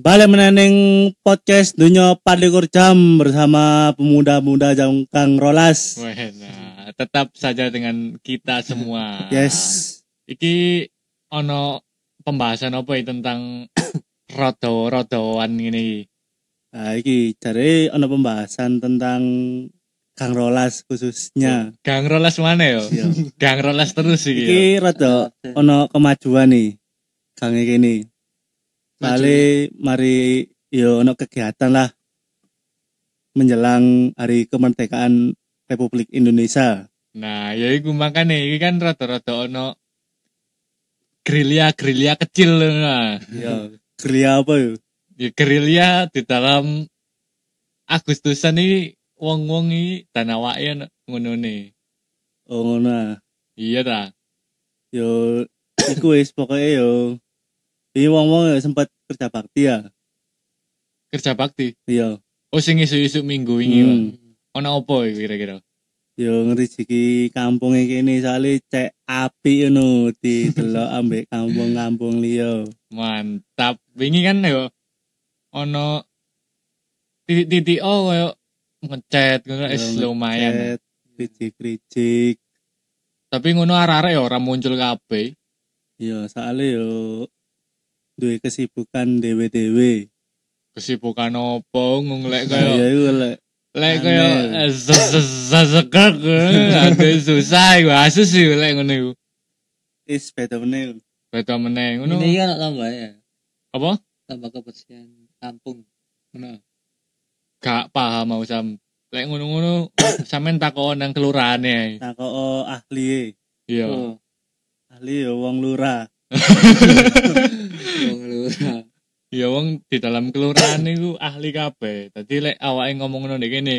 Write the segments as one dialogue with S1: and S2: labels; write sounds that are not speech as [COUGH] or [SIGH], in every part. S1: Balik meneneng podcast dunia Parlikur Jam bersama pemuda-pemuda Jangkang Rolas.
S2: Wena, nah, tetap saja dengan kita semua.
S1: Yes.
S2: Iki ono pembahasan apa ya tentang [COUGHS] rodo-rodoan ini?
S1: Nah, iki cari ono pembahasan tentang Kang Rolas khususnya.
S2: Gang rolas mana yo?
S1: Iya.
S2: Gang rolas terus iki. yo.
S1: Iki rada ono kemajuan nih. Kang iki nih. Kali mari yo ono kegiatan lah menjelang hari kemerdekaan Republik Indonesia.
S2: Nah, ya iku makane iki kan rodo-rodo ono gerilya-gerilya kecil nah.
S1: Yo, gerilya apa yo?
S2: Ya gerilya di dalam Agustusan ini wong-wong iki tanawake ono ngono ne.
S1: Oh ngono. ah.
S2: Iya ta.
S1: yo iku wis pokoknya yo ini wong-wong yo sempat kerja bakti ya
S2: Kerja bakti.
S1: iya
S2: Oh sing isu-isu minggu ini. Pak.
S1: hmm.
S2: ono apa iki kira-kira?
S1: yo ngeriziki kampung iki ini soalnya cek api ngono di ambek kampung-kampung liya
S2: Mantap. Wingi kan yo ono titik-titik oh koyo ngecat ngono
S1: Yo,
S2: es lumayan.
S1: ngecet, kricik-kricik
S2: Tapi ngono arek-arek yo ora muncul kabeh.
S1: yo soalnya yo duwe kesibukan dewe-dewe
S2: Kesibukan opo ngunglek koyo
S1: ya iku lek
S2: lek koyo
S1: aneh.
S2: eh, zez- zez- zezekek eh, ade susah iku asus iku lek ngono iku.
S1: is beda meneh
S2: Beto meneh ngono.
S3: Ini kan tambah ya,
S2: Apa?
S3: tambah kebersihan kampung.
S2: Ngono. Gak paham mau sam. Lek ngono-ngono [COUGHS] sampean takon nang kelurahane.
S1: takok oh, ahli e.
S2: Iya.
S3: Oh,
S1: ahli yo wong lurah
S3: wong lurah.
S2: ya wong di dalam kelurahan niku ahli kabeh. Dadi lek awake ngomong ngono nek kene,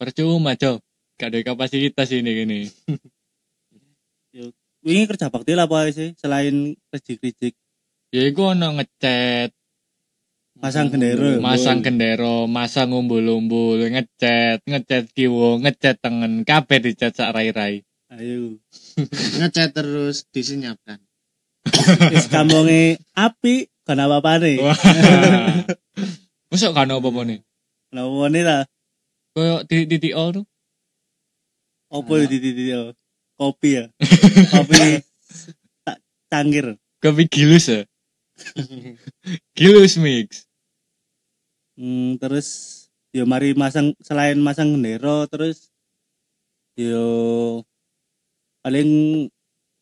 S2: percuma, Jo. Gak ada kapasitas ini gini.
S1: wingi kerja bakti lah apa sih selain kricik-kricik
S2: Ya iku ono ngecat, Hmm,
S1: Masang gendera.
S2: masang gendera, masang umbul-umbul, ngecat, ngecat kiwo, ngecat tengen, kabeh dicat sak rai-rai.
S1: ayo
S4: ngecat terus disenyapkan
S1: Wis kampunge api kan apa pane.
S2: Wah. [LAUGHS] Masuk kan apa-apa nih?
S1: Lawan lah
S2: Koyo titik-titik ol tuh.
S1: opo di di di- di- kopi ya. Kopi tak cangkir.
S2: Kopi gilus
S4: [LAUGHS]
S2: ya. gilus mix.
S1: Hmm, terus yo mari masang selain masang gendera terus yo paling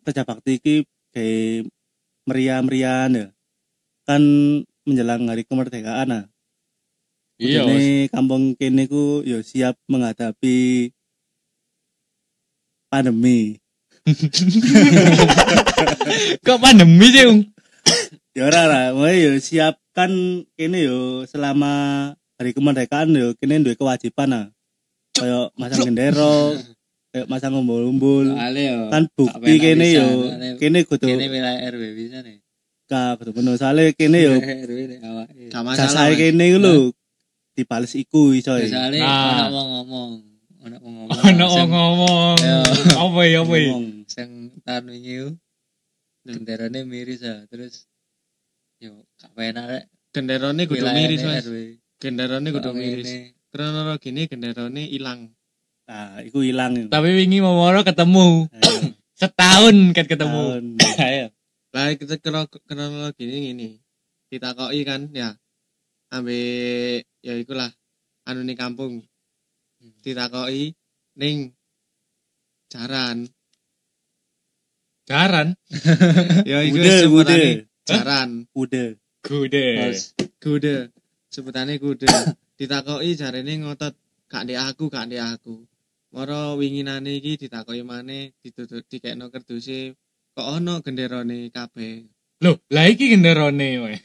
S1: kerja bakti iki kayak meriah-meriahan ya. Kan menjelang hari kemerdekaan ah.
S2: Iya. wes.
S1: Kene kampung kene ku yo siap menghadapi pandemi.
S2: Kok pandemi sih, Ung?
S1: Ya ora ora, wae yo siapkan kene yo selama hari kemerdekaan yo kene duwe kewajiban ah. Kayak masang gendera, kayak masang umbul-umbul.
S3: Soale yo.
S1: Kan bukti
S3: penak
S1: kene yo kene
S3: pisan, soalnya Kene
S1: kudu
S3: wilayah RW bisa nih.
S1: ka kudu bener sale kene
S3: [LAUGHS]
S1: yo
S3: Wilayah RW nih awak.
S4: gak [LAUGHS] masalah
S1: jasae
S4: Mas.
S1: kene iku lho dibales iku iso. ya.
S3: Soale
S2: Nah.
S3: ana wong ngomong, ana wong ngomong.
S2: [LAUGHS] Ono
S3: sing-
S2: wong ngomong.
S3: Iya.
S2: Apa ya, apa ya?
S1: Ngomong.
S3: Sing tanunyu genderane miris ya, terus yo gak penak rek.
S4: genderone kudu
S3: wilayahne
S4: miris mas
S3: RW.
S4: genderone kudu
S3: Soale
S4: miris
S3: ini-
S4: kronolog ini genderone ilang
S1: Nah, iku ilang. yo.
S2: Tapi wingi Momoro ketemu.
S1: Ayo,
S2: Setahun ket ketemu.
S1: tahun.
S2: Ayo.
S4: lah kita kro- kronolog ini gini ditakoki kan ya ambek ya ikulah anu ning kampung
S1: Hmm.
S4: ditakoki ning
S1: [LAUGHS]
S4: jaran
S2: Jaran.
S4: ya iku
S1: Kude, kude,
S4: sebutane jaran
S1: kude.
S2: [LAUGHS] Gude.
S4: kude sebutane kude ditakoki jarene ngotot gak ndek aku gak ndek aku moro winginane iki ditakoki maneh ditutup dikekno kerduse kok ono genderane kabeh
S2: Loh, lah iki genderone weh.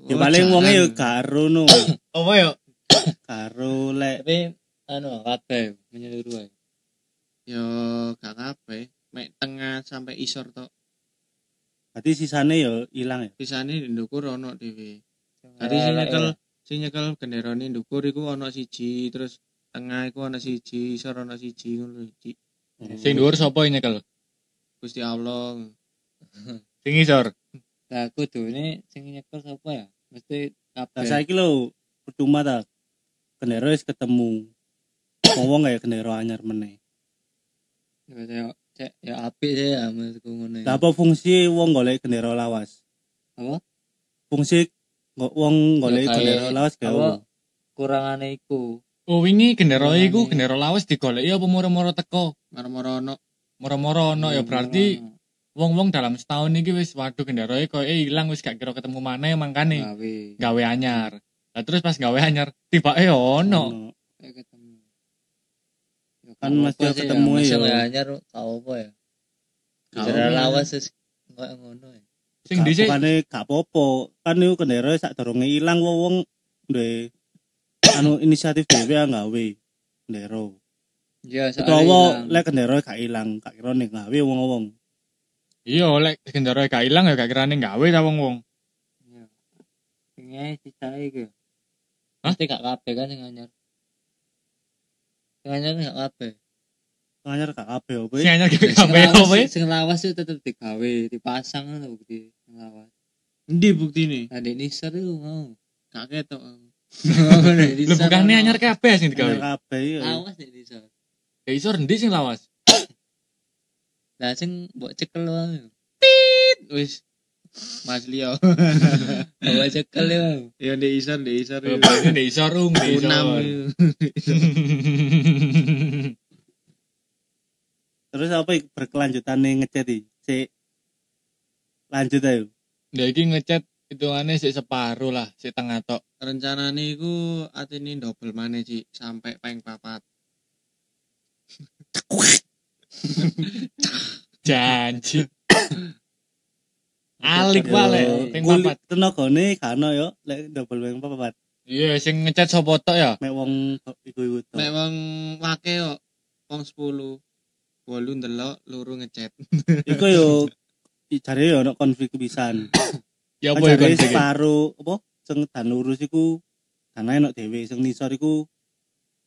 S1: Ya
S2: Oh,
S1: paling
S4: Oh, jaran.
S1: wonge yo karo no,
S2: Apa ya?
S1: [COUGHS] karo lek
S3: Tapi anu kabeh menyeluruh. ae.
S4: yo gak kabeh mek tengah sampai isor tok
S1: dadi sisane yo ilang ya.
S4: bisane e ndukur ono dhewe dadi sing nyekel sing nyekel genderane ndukur iku ono siji terus tengah iku ono siji isor ono siji ngono iki
S2: Sing dhuwur sapa iki nyekel?
S4: Gusti Allah
S2: Sing isor.
S3: Lah kudune sing nyekel sapa ya?
S2: mesti
S1: Nah,
S2: kabeh
S1: saiki lho percuma ta. Gendera wis ketemu. Wong-wong kayak gendera anyar meneh.
S3: Saya cek ya apik sih ya menurutku ngono. ya.
S1: Lah apa fungsi wong golek gendera lawas?
S3: Apa?
S1: Fungsi ngo- wong golek
S3: kayak-
S1: gendera lawas gawe.
S3: apa?
S1: apa?
S3: Kurangane iku.
S2: Oh wingi gendera
S3: Gendera
S2: iku
S3: ini.
S2: gendera lawas digoleki apa moro-moro teko?
S4: Marmoro ono
S2: Moro-moro ono ya
S4: Hmm.
S2: berarti
S3: Kurang-
S2: wong-wong dalam setahun iki wis waduh gendera e koyo ilang wis gak kira ketemu maneh
S4: Nah.
S2: mangkane
S3: gawe
S2: gawe anyar. Lah terus pas gawe anyar tibake ya
S1: Hmm.
S2: ono.
S3: Eh, ketemu. Ya,
S1: Kan
S3: gak
S1: mesti
S3: apa-apa sih
S1: ketemu
S3: ya. Mesti
S1: ya.
S3: gak anyar gak apa ya.
S1: Gak
S3: Gendera
S1: apa.
S3: lawas wis koyo ngono ya.
S2: Sing dhisik
S1: Bukane gak popo. Kan niku gendera sak durunge ilang wong-wong duwe anu inisiatif dhewe ya gawe gendera.
S3: Ya
S1: Utawa lek gendera gak ilang, gak kira ning gawe wong-wong.
S2: iya lek gendera e gak ilang ya gak kirane gawe ta wong-wong.
S3: Pengen sisane iku. ya.
S2: Hah?
S3: Mesti gak kabeh kan sing anyar. Sing anyar gak kabeh.
S1: Anyar gak kabeh apa
S2: Sing anyar gak
S3: Sing
S2: gawe
S3: lawas-
S2: apa ya?
S3: Sing lawas itu tetep digawe, dipasang kan bukti sing lawas.
S4: Endi buktine?
S3: Nah, di nisar itu mau.
S4: Gak
S3: [LAUGHS]
S4: ketok. aku.
S2: Lho bukane anyar kabeh sing
S1: Anyar
S2: digawe.
S1: kabeh ya.
S3: Lawas di nisar.
S2: Ya iso rendi sing lawas.
S3: Lah sing mbok cekel wae.
S4: Wis Mas Leo.
S3: [LAUGHS] Mbok cekel ya. wae.
S4: Ya ndek isor ndek isor.
S2: Lho berarti ndek iso rung, ndek iso.
S4: Unam.
S1: Terus apa ik- berkelanjutane ngechat iki? Sik lanjut ayo.
S2: Ya iki ngechat hitungane sik separo lah, sik tengah tok.
S4: Rencanane iku atine double maneh Cik, sampai peng papat.
S1: [COUGHS]
S2: Janji. Alik wae ping papat.
S1: Tenagane gak ono yo lek double wing papat.
S2: Iya, sing ngechat sapa tok ya?
S1: Mek wong iku-iku
S3: Oh.
S1: to.
S4: Nek wong wake kok wong 10 wolu ndelok loro ngechat.
S1: Iku yo i- jare yo ono konflik pisan. Kan
S2: Ya apa ya
S1: Jare
S2: konflik?
S1: separuh apa sing dan lurus iku danae nok dhewe sing nisor iku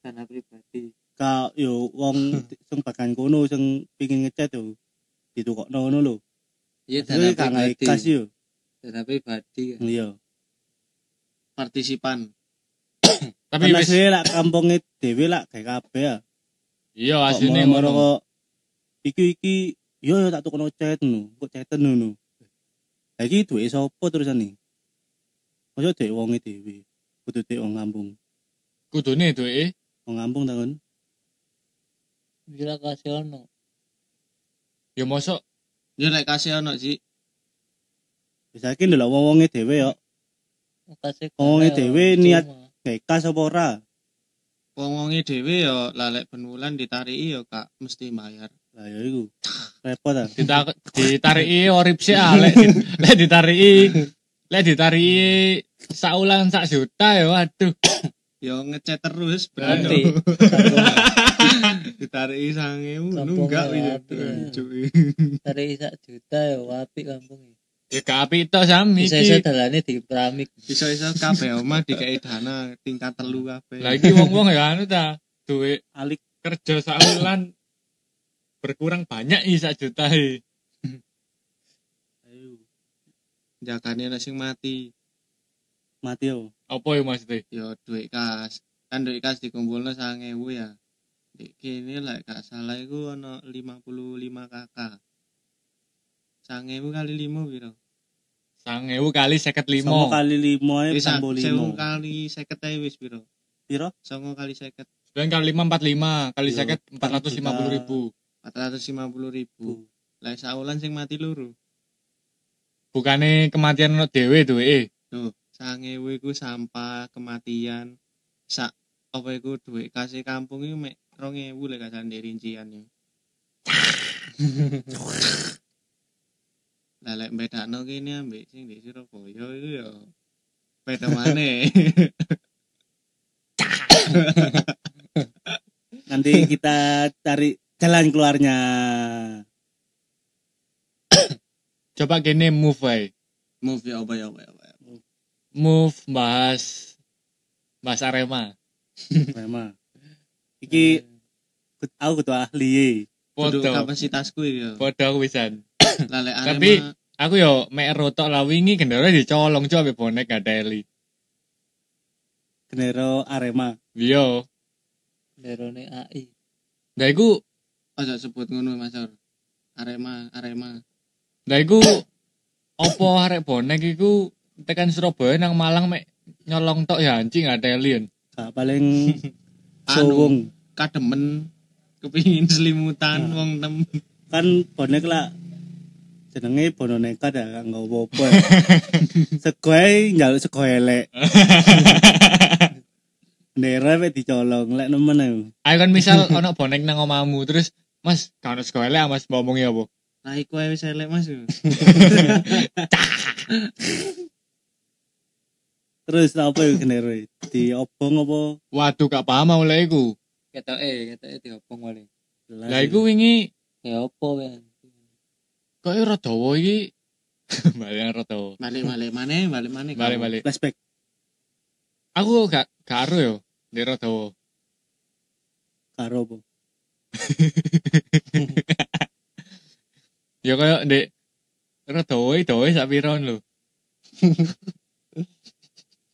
S3: Karena pribadi.
S1: ka yo
S2: [LAUGHS]
S1: wong sing bakan kono sing pengin ngechat yo ditukokno ngono lho. Iku
S3: Iya, dana
S1: gak
S3: pribadi.
S1: ngaikas yo.
S3: Dana pribadi. kan.
S1: Iya.
S4: Partisipan.
S2: Tapi
S1: Tapi
S2: wis
S1: lak kampunge dhewe lak gawe kabeh ya.
S2: iya asline
S1: asine moro
S2: ngono.
S1: kok iki iki yo yo tak tukono chat no kok chaten ngono Lah iki duwe sapa terusane ojo dhek wonge dhewe kudu dhek wong kampung
S2: Kudune duwe
S1: wong kampung ta kon
S3: Gila kasih ono.
S2: ya mosok
S4: Yo nek kasih ono Cik.
S1: bisa iki ndelok wong-wonge dhewe yo
S3: Kasih.
S1: Wonge
S3: kasih,
S1: dhewe
S3: cuma.
S1: Oh, niat- nekas apa ora
S4: wong-wonge dhewe ya lalek ben wulan ditariki ya Kak mesti bayar.
S1: lah yo iku repot ta
S2: dita- ditariki orip sik ah lek
S1: [COUGHS]
S2: di- lek ditariki lek ditariki saulan sak juta ya waduh.
S4: Ya ngechat terus
S3: Nanti.
S4: berarti
S1: [LAUGHS]
S4: ditariki sange
S3: Kampung
S4: enggak
S3: ya,
S4: ya
S3: apik ya.
S4: Uh, cuy.
S3: Dari sak juta ya wapi kampung.
S2: Ya kapi tok sami
S3: Bisa bisa
S2: iki.
S3: dalane di keramik.
S4: Iso-iso kabeh omah dikei dana tingkat telu kabeh.
S2: Lah iki wong-wong ya anu ta duwe
S1: alik
S2: kerja saulan berkurang banyak i sak juta i.
S1: ayo
S4: jagane ana sing mati
S1: mati yo
S2: Apa ya maksudnya?
S4: ya duit kas kan duit kas dikumpulno 1000 ya di kene lek gak salah iku ana 55 kakak 1000 kali 5 piro
S2: Sangewu kali seket
S1: sama
S2: limo.
S1: kali limo ae
S4: wis
S1: sambo
S4: 1000
S1: limo
S4: kali 50 ae wis piro
S1: Piro?
S4: 9 kali 50
S2: Sembilan kali kan, lima empat lima kali
S1: Iya,
S2: seket empat ratus lima puluh ribu.
S4: 450 ribu lek saulan sing mati loro
S2: Bukannya kematian ono dewe tuh eh.
S4: lho 1000 iku sampah kematian sak apa iku duit kas kampung iku mek 2000 lek gak salah ndek rincian yo Lah lek bedakno kene ambek sing di Surabaya iku ya beda maneh.
S1: nanti kita cari jalan keluarnya
S2: Coba gini move eh.
S4: [LAUGHS] Move ya apa ya apa ya. apa ya.
S2: Move bahas bahas Arema.
S1: memang iki aku kudu ahli
S4: Kudu
S2: Foto.
S4: kapasitasku iki ya.
S2: Foto wisan.
S4: Lah lek
S2: Tapi-
S4: Arema
S2: aku yo mek rotok lah wingi gendera dicolong cok ambek bonek gak teli.
S1: Gendero Arema.
S2: Yo,
S3: Derone AI.
S2: ndak Iya. iku
S4: Ojo sebut ngono Mas Or. Arema, Arema.
S2: Nah iku opo arek bonek iku tekan Surabaya nang Malang mek nyolong tok ya anjing gak telian.
S1: Gak paling
S4: Anu,
S1: suwung.
S4: kademen kepingin
S2: Hmm.
S4: selimutan
S1: Nah.
S4: wong tem.
S1: Kan bonek lah jenenge bono nekat ya gak nggawa apa-apa. ya. Segoe njaluk sego elek. Gendera wek dicolong lek nemen ayo.
S2: Ayo kan misal ono bonek nang omamu terus Mas, kan harus kowe lek Mas ngomong ya, Bu.
S4: Lah iku ae wis elek Mas.
S1: Terus lah apa yo gendero e? diobong apa?
S2: Waduh, gak paham mau lek iku.
S3: Kata eh, kata eh diopong wali.
S1: Jelas
S2: Lah
S1: ya.
S2: iku wingi
S3: Ya opo ya.
S2: kok Rodowo iki [LAUGHS] balik Rodowo.
S4: Balik-balik maneh, balik maneh.
S2: Balik-balik.
S1: flashback.
S2: Aku gak gak aru yo di Rodowo.
S1: karo apa?
S2: Ya koyo ndek Rodowo iki dowe sak piron lho.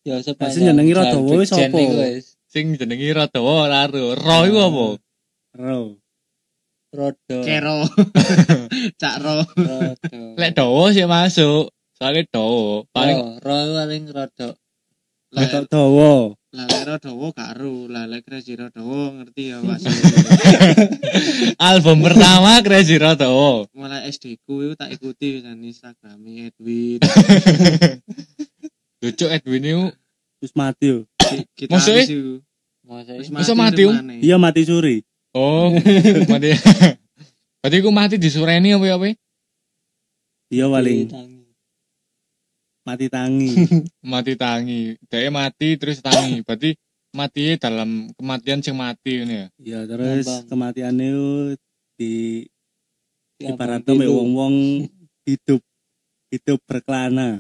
S3: Ya
S1: Lah, sing jenengi Rodowo wis
S3: Jan
S1: opo?
S3: iku wis.
S2: Sing jenengi Rodowo ora aru. Ro iku apa?
S1: Ro.
S3: Rodo.
S4: [LAUGHS] Kero. Cak ro.
S3: Rodo.
S2: [LAUGHS] Lek dowo sih masuk. Soalnya dowo paling
S3: Paling ro paling rodo.
S4: Lah,
S1: Ketok dawa.
S4: Lah lek ro dawa gak ro, lah lek crazy ro dawa ngerti
S1: [LAUGHS]
S4: ya Mas.
S2: album pertama Crazy Rodowo.
S4: Mulai SD ku iku tak ikuti wisan Instagram Edwin.
S2: Lucu Edwin itu
S1: Terus mati yo.
S4: Hmm. Kita
S2: Maksudnya?
S3: Masa
S4: Wis
S3: wis
S2: Masa mati,
S4: wis
S2: Um?
S4: maneh.
S1: Iya mati suri.
S2: oh mati. [LAUGHS] Berarti aku mati di Sureni apa ya apa?
S1: Iya paling
S3: ditangi.
S1: mati tangi.
S2: Mati tangi. Dia mati terus tangi. Berarti mati dalam kematian sing mati ini ya.
S1: Iya terus
S3: Ngambang.
S1: kematiannya yo di
S3: Diambang
S1: ibaratnya mek
S3: pilu.
S1: wong-wong hidup hidup berkelana.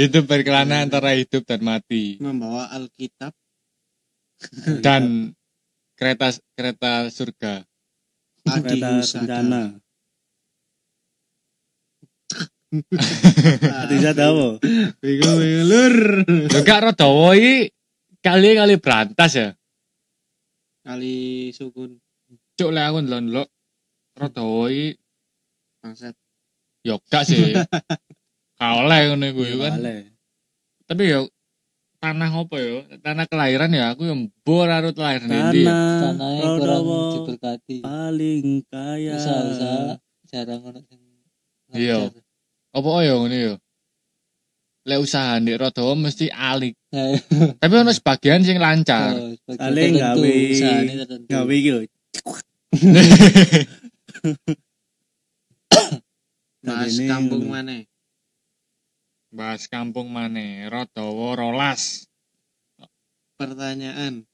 S2: Hidup berkelana antara hidup dan mati.
S4: membawa Alkitab
S2: Dan kereta kereta surga.
S4: Adi
S1: Kereta
S4: Husada. Ah.
S1: bencana. Adi Sadawa.
S4: Bego bego, lur.
S2: Juga Rodowo ini kali kali berantas ya.
S4: Kali sukun
S2: Cuk lah aku ndelok Rodowo ini
S4: bangsat.
S2: ya gak sih. Kau lah ngono iku
S1: Iya
S2: kan.
S1: Boleh.
S2: tapi ya tanah apa ya tanah kelahiran ya aku yang bor arut lahir nanti ya.
S1: Tanah
S3: Tanahnya kurang
S1: Rodowo
S3: diberkati.
S1: paling kaya.
S3: Usaha-usaha jarang ono sing
S2: Iya.
S3: ngejar.
S2: apa ya ini ya lek usaha ndek Rodowo mesti alik
S3: Nah,
S2: tapi ono sebagian sing lancar
S3: Oh, sebagai
S1: Paling
S3: tertentu,
S1: gawe-
S3: usahane tertentu.
S1: Gawe iki lho.
S4: Mas
S1: Tadi ini
S4: kampung
S1: ngono.
S4: mana?
S2: bahas kampung mana Rodowo rolas
S4: Pertanyaan.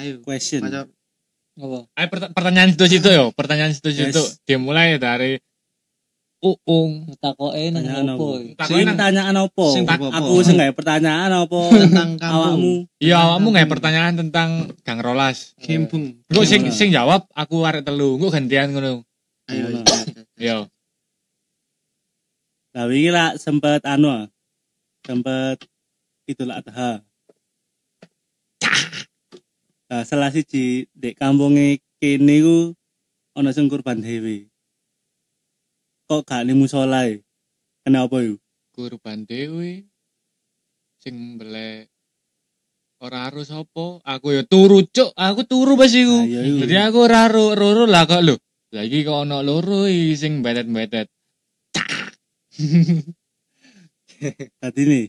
S4: Ayo.
S1: Question.
S4: Macam
S3: Apa?
S2: Ayo pert- pertanyaan situ situ yo pertanyaan situ situ
S1: Yes.
S2: dimulai dari uung
S3: Takoke nang
S1: Pertanyaan
S3: opo?
S1: apa?
S3: iki?
S1: Sing
S2: Takonan-
S1: pertanyaan apa?
S4: Sing tak-
S1: Aku sing gawe pertanyaan apa?
S4: tentang kampung.
S1: Awakmu
S2: iya awakmu nggak pertanyaan tentang Gang Rolas
S4: Kampung.
S2: Gue sing sing jawab aku arek telu gue gantian ngono
S1: Iya.
S4: Ayo. ayo.
S2: yo
S1: Nah, wingi lah sempet anu ah. sempet Idul Adha. Nah, salah siji dek kampunge kene ku ana sing kurban dewe. Kok gak ning musala e? Kenapa yo?
S2: kurban dewi sing mbelek ora harus apa aku ya turu cuk aku turu pas
S1: Nah,
S2: iku
S1: ya iku.
S2: jadi aku ora ru ru lah kok lho lagi kok ono loro iki sing betet-betet
S1: Dadi nih,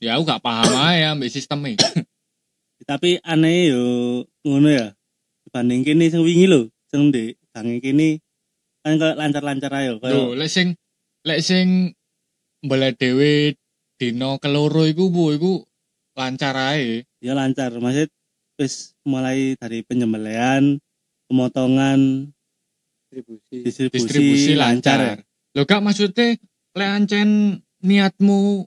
S2: ya aku gak paham ae ambek e. sisteme
S1: tapi aneh yo ngono ya. Dibanding kene sing wingi lho, sing ndek gange kene kan koyo lancar-lancar ayo
S2: lho
S1: koyo
S2: lek sing lek sing mbelek dhewe dina keloro iku bu iku lancar ae
S1: ya lancar maksud wis mulai dari penyembelian pemotongan
S3: Distribusi.
S1: distribusi,
S2: distribusi
S1: ya.
S2: lancar, lho gak maksudnya lek ancen niatmu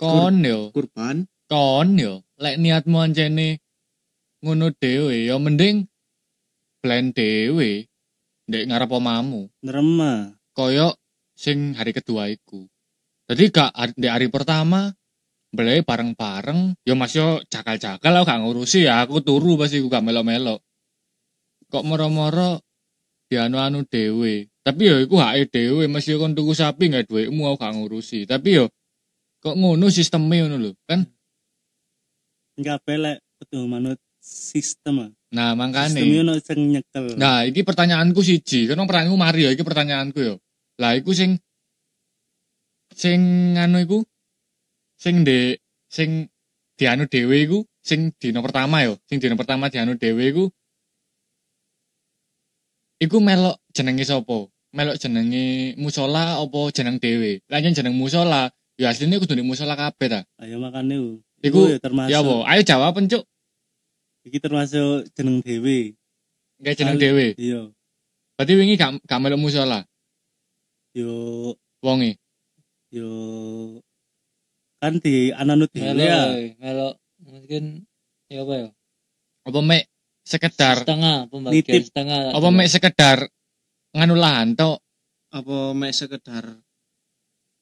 S2: kon yo
S4: Kurban.
S2: kon yo lek niatmu ancene ngono dhewe ya mending plan dhewe ndek ngarep omamu.
S1: nerema
S2: Koyo sing hari kedua iku. Dadi gak hari- ndek hari pertama beli bareng-bareng, yo Mas yo cakal-cakal aku gak ngurusi ya, aku turu pasti aku gak melo-melo. Kok moro-moro dianu-anu dhewe. Tapi yo iku hake dhewe, Mas yo kon tuku sapi gak duitmu aku gak ngurusi. Tapi yo kok ngono sistemnya ngono lho, kan?
S1: enggak pelek kudu manut sistem ah.
S2: Nah, makane.
S1: sistemnya ono sing nyekel
S2: Nah, iki pertanyaanku siji. Kan pertanyaanku mari ya, iki pertanyaanku ya. Lah iku sing sing anu iku sing ndek sing dianu dhewe iku sing dina pertama ya, sing dina pertama dianu dhewe iku iku melok jenenge sapa? Melok jenenge musola apa jeneng dhewe? Lah yen jeneng musola, ya asline kudu ndek musola kabeh ta.
S1: ayo makan iku
S2: Iku,
S1: ya termasuk
S2: Ya apa? Ayo jawab Cuk.
S1: iki termasuk jeneng dhewe
S2: Enggak jeneng
S1: Kali-
S2: dhewe.
S1: iya
S2: Berarti wingi gak gak melok musola
S1: yo
S2: wonge.
S1: yo kan di ananut dhewe
S3: Melo,
S1: ya
S3: woy, melo mungkin ya apa ya?
S2: Apa mek sekedar
S3: Setengah pembagian
S1: Nitip.
S3: setengah. lah.
S2: apa mek sekedar nganu lahan tok
S4: apa mek sekedar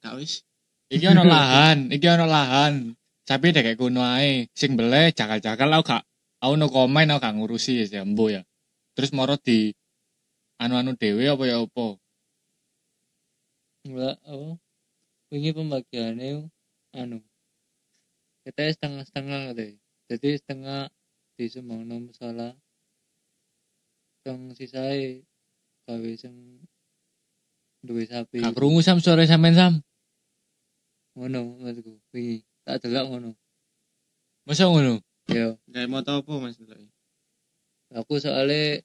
S4: gak wis
S2: iki ono lahan iki ono lahan tapi dek kayak kuno ae sing beleh cakal-cakal aku gak aku no komen aku gak ngurusi ya jambo ya terus moro di anu-anu dhewe apa ya apa
S3: Enggak, apa? Wingi pembagiannya anu. Kita setengah-setengah kali. Jadi setengah di semua nomor salah. Tong sisai gawe sing duwe sapi.
S2: gak krungu sam sore sampean sam
S3: Ngono menurutku. Wingi tak delok ngono.
S2: masa ngono
S3: Ya,
S4: gak mau tau apa mas Ndelok.
S3: aku soalnya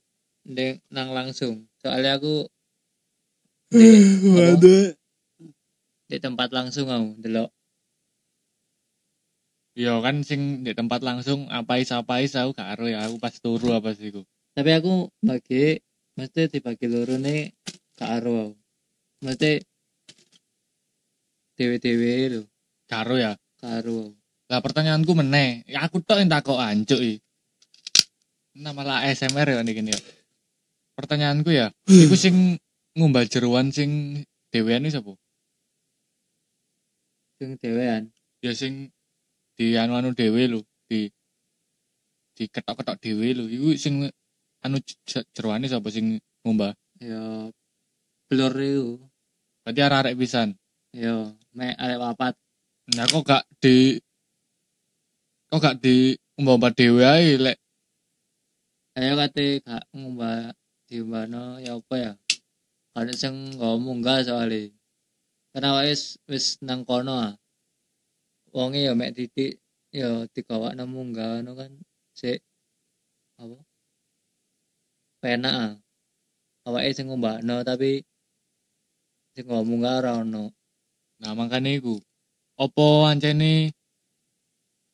S3: ndek nang langsung. Soalnya aku apa?
S1: waduh
S3: di tempat langsung aku delok.
S2: Iya kan sing di tempat langsung apais apais aku gak ero ya aku pas turu apa sih iku.
S3: tapi aku bagi mesti dibagi loro nih ke arwah mesti dewe-dewe lho
S2: gak ero ya
S3: ke arwah
S2: lah pertanyaanku meneh Ya, aku tok yang takok ancuk i Nah, malah ASMR ya nih gini ya pertanyaanku ya iku sing ngumbal jeruan sing dhewean iki sapa
S3: sing dewean
S2: ya sing di anu anu dhewe lho di di ketok ketok dhewe lho iku sing anu j- jeruane sapa sing ngumbal
S3: ya blur itu
S2: berarti arek arek pisan
S3: ya mek arek papat
S2: nah kok gak di kok gak di umbal umbal dhewe ae lek
S3: ayo kate gak ngumbah diumbahno ya apa ya kan sing ngomong gak soalnya karena Kan wis wis nang kono ah wonge ya mek titik ya digawa nang munggah no kan sik apa penak ah awake sing ngombakno tapi sing ngomong gak ora ono
S2: Nah makanya iku. Apa ancene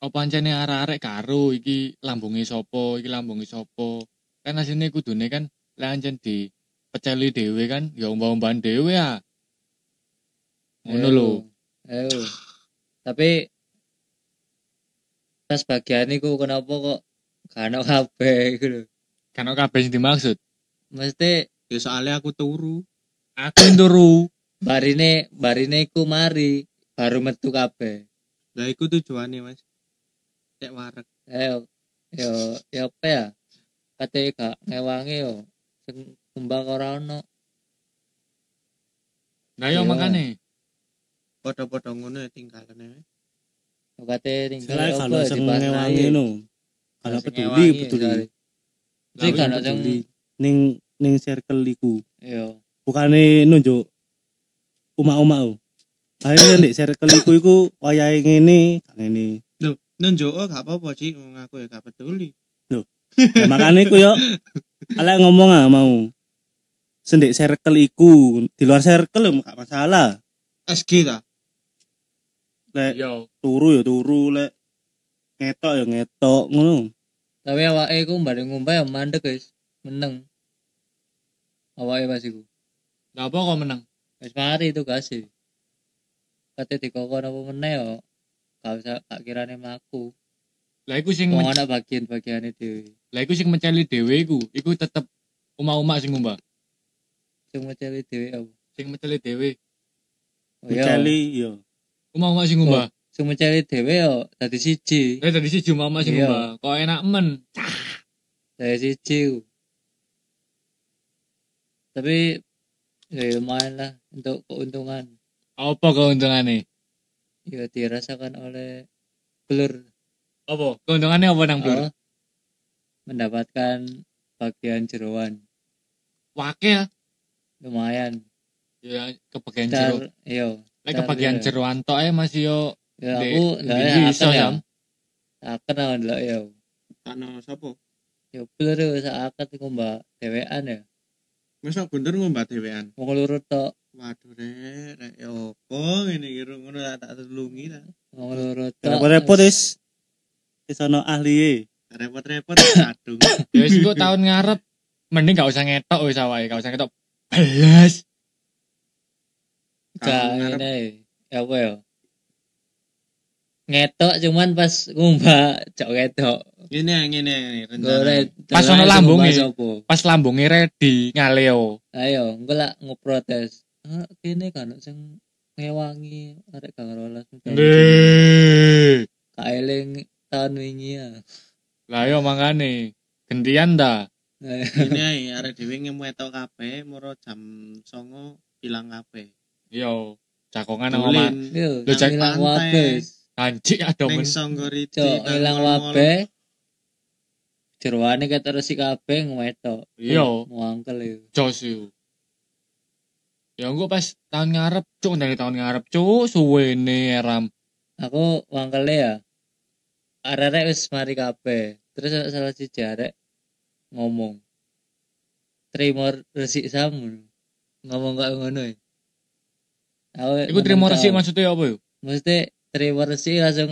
S2: apa ancene arek-arek karo iki lambunge sapa, iki lambunge sapa. Kan asline kudune kan lek ancen di peceli dhewe kan ya umbah-umbahan dhewe ya. Ngono
S3: Ayo,
S2: lho.
S3: ayo tapi pas bagian iku kenapa kok gak ono kabeh iku lho
S2: Kan kok kabeh sing dimaksud.
S3: mesti
S4: ya soalnya aku turu
S2: Aku yang turu.
S3: barine barine iku mari baru metu kabeh
S4: lah iku tujuannya mas cek warek
S3: ayo yo yo apa ya kate gak ngewangi yo sing kumbang ora ono
S2: Nah ya
S3: Iya.
S2: makane.
S4: podo-podo ngono ya tinggalannya
S3: yo kate tinggal
S1: Soalnya
S3: apa
S1: kalau
S3: ya,
S1: sing
S3: diwarnai.
S1: ngewangi no. Kalau
S3: Sing
S1: peduli,
S3: ngewangi,
S1: peduli.
S3: soalnya.
S4: Lah,
S3: Jadi gak
S1: iya,
S3: ono sing
S1: peduli. Ning ning circle iku.
S3: yo
S1: Bukane nunjuk umak-umak o. Akhirnya ndek circle iku iku wayahe ngene, gak ngene.
S4: nunjuk oh gak apa-apa sih ngomong aku ya gak peduli
S1: Ya, makane iku yo ala ngomong ah mau. Sendek circle iku, di luar circle yo gak masalah.
S4: SG ta
S1: Lek
S2: Yo.
S1: turu yo turu, lek ngetok yo ngetok ngono.
S3: tapi awake iku bareng ngumbah yo mandek guys meneng awake pas iku
S2: Lah apa kok menang?
S3: wis mari itu gak sih kate dikokon apa meneh yo gak usah gak kirane mlaku
S2: Lah iku sing
S3: Wong
S2: men-
S3: ana bagian-bagiane dhewe.
S2: lah iku sing meceli dhewe iku, iku tetep umak-umak sing ngumbah.
S3: cuma cewek dhewe apa?
S2: sing meceli dhewe
S3: Oh, iya.
S1: Menceli yo.
S2: omah omah sing ngumbah
S3: Sing meceli dhewe yo dadi siji.
S2: eh tadi siji omah omah sing
S3: Iya.
S2: ngumbah kok enak men
S3: Dadi siji. ku. Tapi ya lumayan lah untuk keuntungan.
S2: apa keuntungannya
S3: Ya dirasakan oleh blur.
S2: apa keuntungannya apa nang blur
S3: Oh, mendapatkan bagian jeroan
S2: wakil
S3: lumayan.
S2: ya kebagian jero
S3: Car, yo.
S2: lek kebagian
S3: iya.
S2: jeroan tok ae masih yo
S3: Ya
S2: Di-
S3: aku ndak
S2: di- ya?
S3: akan
S2: iso,
S3: ya.
S2: Sam.
S3: Akan aku ndak yo.
S4: Takno sapa?
S3: Yo blur yo sak akan iku mbak dhewean ya.
S4: Mesok guntur ngombah dhewean.
S3: Wong loro tok,
S4: Waduh rek, rek ya apa ngene iki Rung? ngono tak tak tulungi ta.
S3: wong loro tok.
S1: Repot-repot
S2: ya?
S1: wis. Wis e. ana ahliye.
S4: Repot-repot adung.
S2: ya wis kok tahun ngarep mending gak usah ngetok wis awake gak usah ngetok belas
S3: Gak
S4: Tahun ngarep.
S3: ini. Ya apa ya? Ngetok cuman pas ngumbah cok ketok.
S4: Ngene ngene ngene
S3: Golek.
S4: rencana.
S2: Pas
S3: Delok
S2: ono ya?
S3: aku
S2: lambunge.
S3: ngumbah sopo.
S2: pas lambungnya ready ngaleo
S3: Ayo, engko lak ngoprotes. Ah, kene kan sing ngewangi arek gak rolas.
S2: Ndeh.
S3: Kaeling tahun wingi ya.
S2: lah yo mangane gantian ta
S3: Ayo.
S4: Ngene ae arek dhewe ngemetok kabeh moro jam 09.00 ilang kabeh.
S2: yo cakongan sama ya,
S4: Dolen.
S3: Yo,
S2: Lu cek
S3: ilang
S4: pantai.
S3: wabeh.
S2: anjing ada
S4: Ning
S2: men
S4: Songgoriti.
S3: Cok,
S4: tanggal
S3: ilang
S4: 08.00.
S3: wabeh. Jeroane ketok resi kabeh ngwetok.
S2: Iya.
S3: Muangkel yo.
S2: jos yo ya engko pas tahun ngarep cuk dari tahun ngarep cuk suwene ram
S3: aku wangkele ya arek wis mari kabeh terus ana salah siji arek ngomong trimo resik samu ngomong kok ngono ya aku
S2: iku
S3: ngomong
S2: trimo resik
S3: tau.
S2: maksudnya apa yo
S3: mesti trimo resik langsung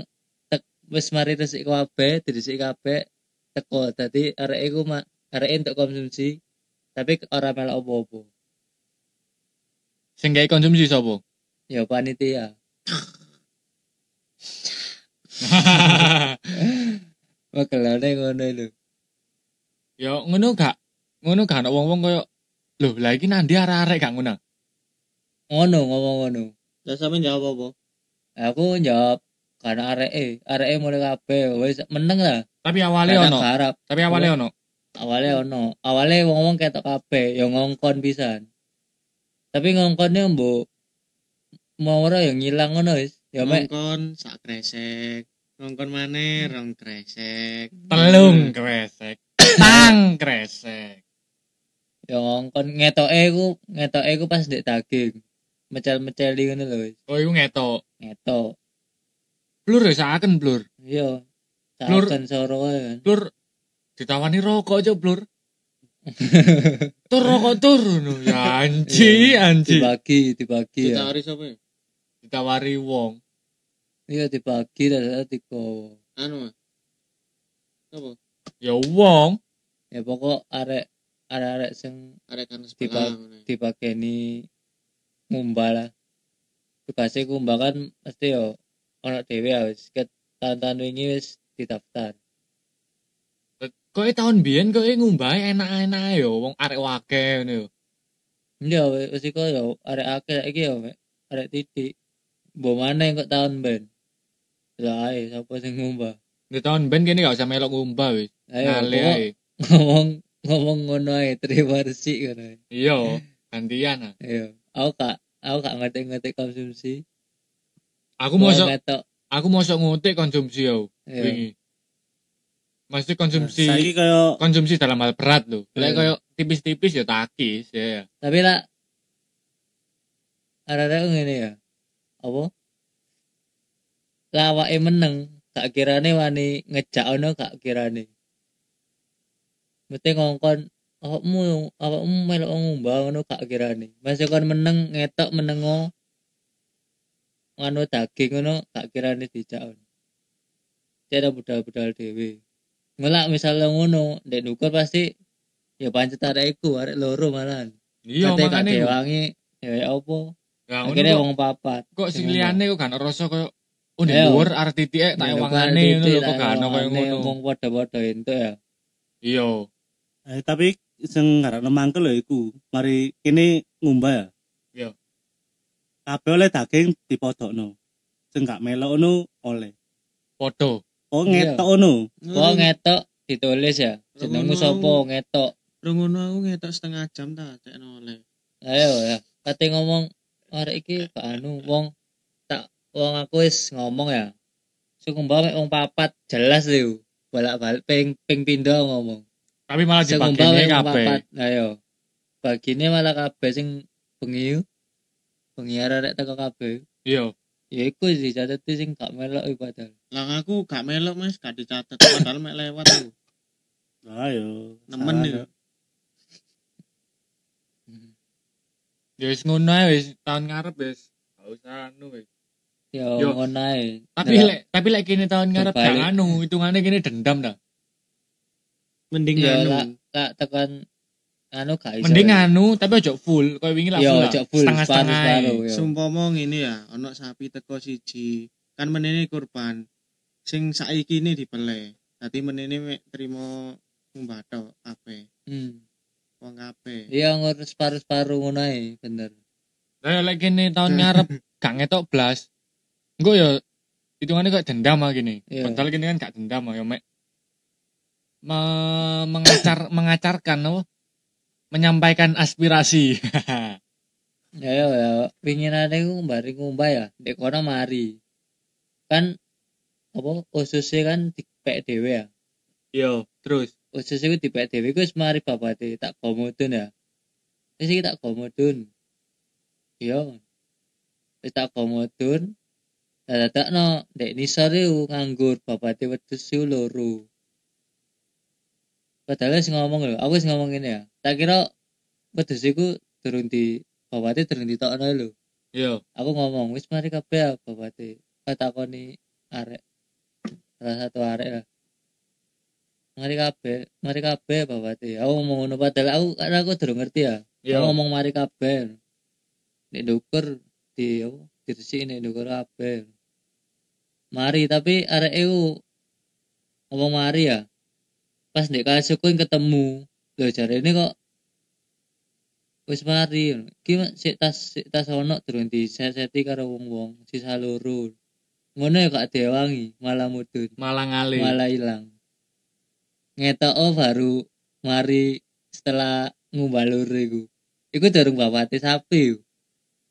S3: tek wis mari resik kabeh diresik kabeh teko dadi arek iku mak arek untuk konsumsi tapi ora melok opo-opo
S2: sing gawe konsumsi sapa
S3: ya panitia Wakelane ngono lho.
S2: Yo ngono gak? Ngono gak ana wong-wong koyo lho, lah iki nandi arek-arek gak ngono.
S3: Ngono ngomong ngono.
S4: Lah sampean jawab apa?
S3: aku jawab karena aree aree eh, mulai kabeh wis meneng lah
S2: Tapi awale
S3: karena
S2: ono,
S3: garap
S2: tapi awale ono.
S3: awalnya ono awalnya wong wong ketok kabeh ya ngongkon pisan tapi ngongkonnya mbok mau ora yang ngilang ngono wis ya
S2: Hmm.
S3: mek
S4: Ngongkon sak kresek. Ngongkon maneh rong kresek.
S2: Telung kresek, tang kresek.
S3: ya ngongkon ngetoke ku ngetoke ku pas ndek daging mecel-meceli ngono lho wis
S2: Oh iku ngetok.
S3: ngetok
S2: Blur ya saken blur.
S3: iya
S2: Lur.
S3: saken soro kae kan
S2: Blur ditawani rokok aja blur. tur rokok tur ngono. Ya anji, anji.
S3: dibagi dibagi ya
S4: Ditawari sapa ya?
S2: Ditawari wong.
S3: iya dibagi terus digowo
S4: Anu. Mas. Apa?
S2: Ya wong.
S3: ya pokok arek arek-arek sing
S4: Arek kan
S3: Tiba-
S4: sebelah. ngene.
S3: dipakeni ngumbah lah tugasnya ngumbah kan mesti yo ono dhewe ya wis Ket- tahun-tahun wingi wis didaftar
S2: Koe tahun biyen koe ngumbahe enak-enak ae yo wong arek wake ngono yo.
S3: iya we- wis iku yo arek akeh iki yo we. arek titik mbok maneh kok tahun ben lah ae sapa sing ngumbah
S2: Di tahun ben kene gak usah melok ngumbah wis.
S3: ayo
S2: Ngale
S3: Eh, pokok
S2: ae.
S3: [LAUGHS] ngomong ngomong ngono ae terima resik ngono ae. Eh.
S2: Iya, gantian ah.
S3: ayo aku kak aku kak ngerti-ngerti konsumsi
S2: Aku mosok
S3: ngetok
S2: aku mosok ngutik konsumsi yo
S3: Iya. Nah,
S2: wingi. Mesti konsumsi
S1: Saiki kaya
S2: konsumsi dalam hal berat lho. Lek
S3: Iya.
S2: koyo tipis-tipis ya takis ya. ya.
S3: tapi lah arek-arek ngene ya apa lawake meneng gak kirane wani ngejak ono gak kirane mesti ngongkon awakmu awakmu melok ngumbah ngono gak kirane masih kon meneng ngetok menengo nganu daging ngono gak kirane dijak ono cara budal-budal dhewe ngelak misalnya ngono ndek nukur pasti ya pancet arek iku arek loro malahan
S2: Iya
S3: Kate gak
S2: makane. lho.
S3: diwangi ya ya opo.
S2: Lah
S3: Akhirnya
S2: ngono
S3: wong papat.
S2: kok- kok sing
S3: sing
S2: liyane kok gak rasa koyo oh
S3: Iya.
S2: ndek dhuwur arep titike tak ya, ewangane ngono Hmm. lho kok gak ono koyo
S3: Wong
S2: ngono.
S3: padha-padha entuk ya.
S2: Iya.
S1: eh, tapi sing ngarakno mangkel lho iku. Mari kene ngumbah ya.
S2: Iya.
S1: Kabeh oleh daging dipodokno. Sing gak melokno oleh.
S2: Podo.
S1: Oh
S3: Iya.
S1: ngetokno.
S3: Kok ngetok ditulis ya.
S2: Hmm.
S3: Jenengmu
S4: Ngono.
S3: sapa ngetok.
S4: Rungono aku ngetok setengah jam ta cek oleh.
S3: Ayo ya. Kate ngomong arek iki Pak Anu wong tak wong aku wis ngomong ya. Suku mbak wong papat jelas lho. Bolak-balik ping ping pindho ngomong.
S2: Tapi malah
S3: Sing mbak
S2: dibagine
S3: wong
S2: kabeh.
S3: papat. Ayo. Bagine malah kabeh sing bengi. Bengi arek teko kabeh.
S2: Iya.
S3: Ya iku sih catet sing gak melok iku padahal.
S4: Lah aku gak melok Mas, gak dicatet padahal mek lewat aku.
S1: Ayo.
S4: Nemen
S1: Salah,
S4: ya.
S2: Ya wis ngono ae wis tahun ngarep wis. Gak usah anu wis.
S3: Ya
S2: Yo.
S3: ngono ae.
S2: Tapi
S3: Nah,
S2: lek tapi lek kene tahun ngarep gak
S3: Terbalik.
S2: anu, hitungane kene dendam dah.
S4: Mending
S3: Iya,
S4: anu.
S3: lah. tak tekan anu gak iso.
S2: Mending anu tapi ojo full, koyo wingi lah
S3: Yo,
S2: full. lah.
S3: Iya, ojo full,
S2: Setengah-setengah.
S3: separuh-separuh,
S2: ae.
S3: yo.
S4: Sumpama ngene ya, ana sapi teko siji, kan menene kurban. Sing saiki ini dipeleh. Dadi menene mek trimo ngumbathok ape,
S3: Hmm.
S4: wong ape.
S3: Iya ngurus paru-paru ngono ae, bener.
S2: Lah lek kene
S3: [LAUGHS]
S2: tahun ngarep gak ngetok blas. Engko yo hitungane kok dendam ah gini.
S3: Iya.
S2: Padahal kene kan gak dendam ah yo mek me- mengacar [COUGHS] mengacarkan apa? menyampaikan aspirasi. [LAUGHS]
S3: Ya ya ya, pinginane ku mbari ngumbah ya, ndek kono mari. Kan apa ususnya kan dipek dhewe ya.
S2: Yo, terus
S3: Ususnya ku dipek dhewe ku wis mari babate tak gomodun ya. Wis iki tak gomodun. Iya. Wis tak gomodun. Dadakno ndek nisor iku nganggur babate wedhus iku loro. Padahal wis ngomong lho, aku wis ngomong ngene ya. Tak kira wedhus iku durung di babate durung ditokno lho.
S2: yo
S3: aku ngomong wis mari kabeh ya babate katakoni arek salah satu arek ya. lah mari kabeh mari kabeh babate aku ngomong ngono padahal aku karena aku durung ngerti ya aku
S2: yo
S3: ngomong mari kabeh nek dukur di apa dirsi nek dukur kabeh mari tapi arek iku ngomong mari ya pas nek kasuku ketemu lho jarene kok wis mari ki sik tas sik tas ono durung diseseti karo wong-wong sisa loro ngono ya gak diwangi malah mudun
S2: malah ngalih.
S3: malah hilang ngetok baru mari setelah ngumbah loro iku iku durung bapate sapi iku.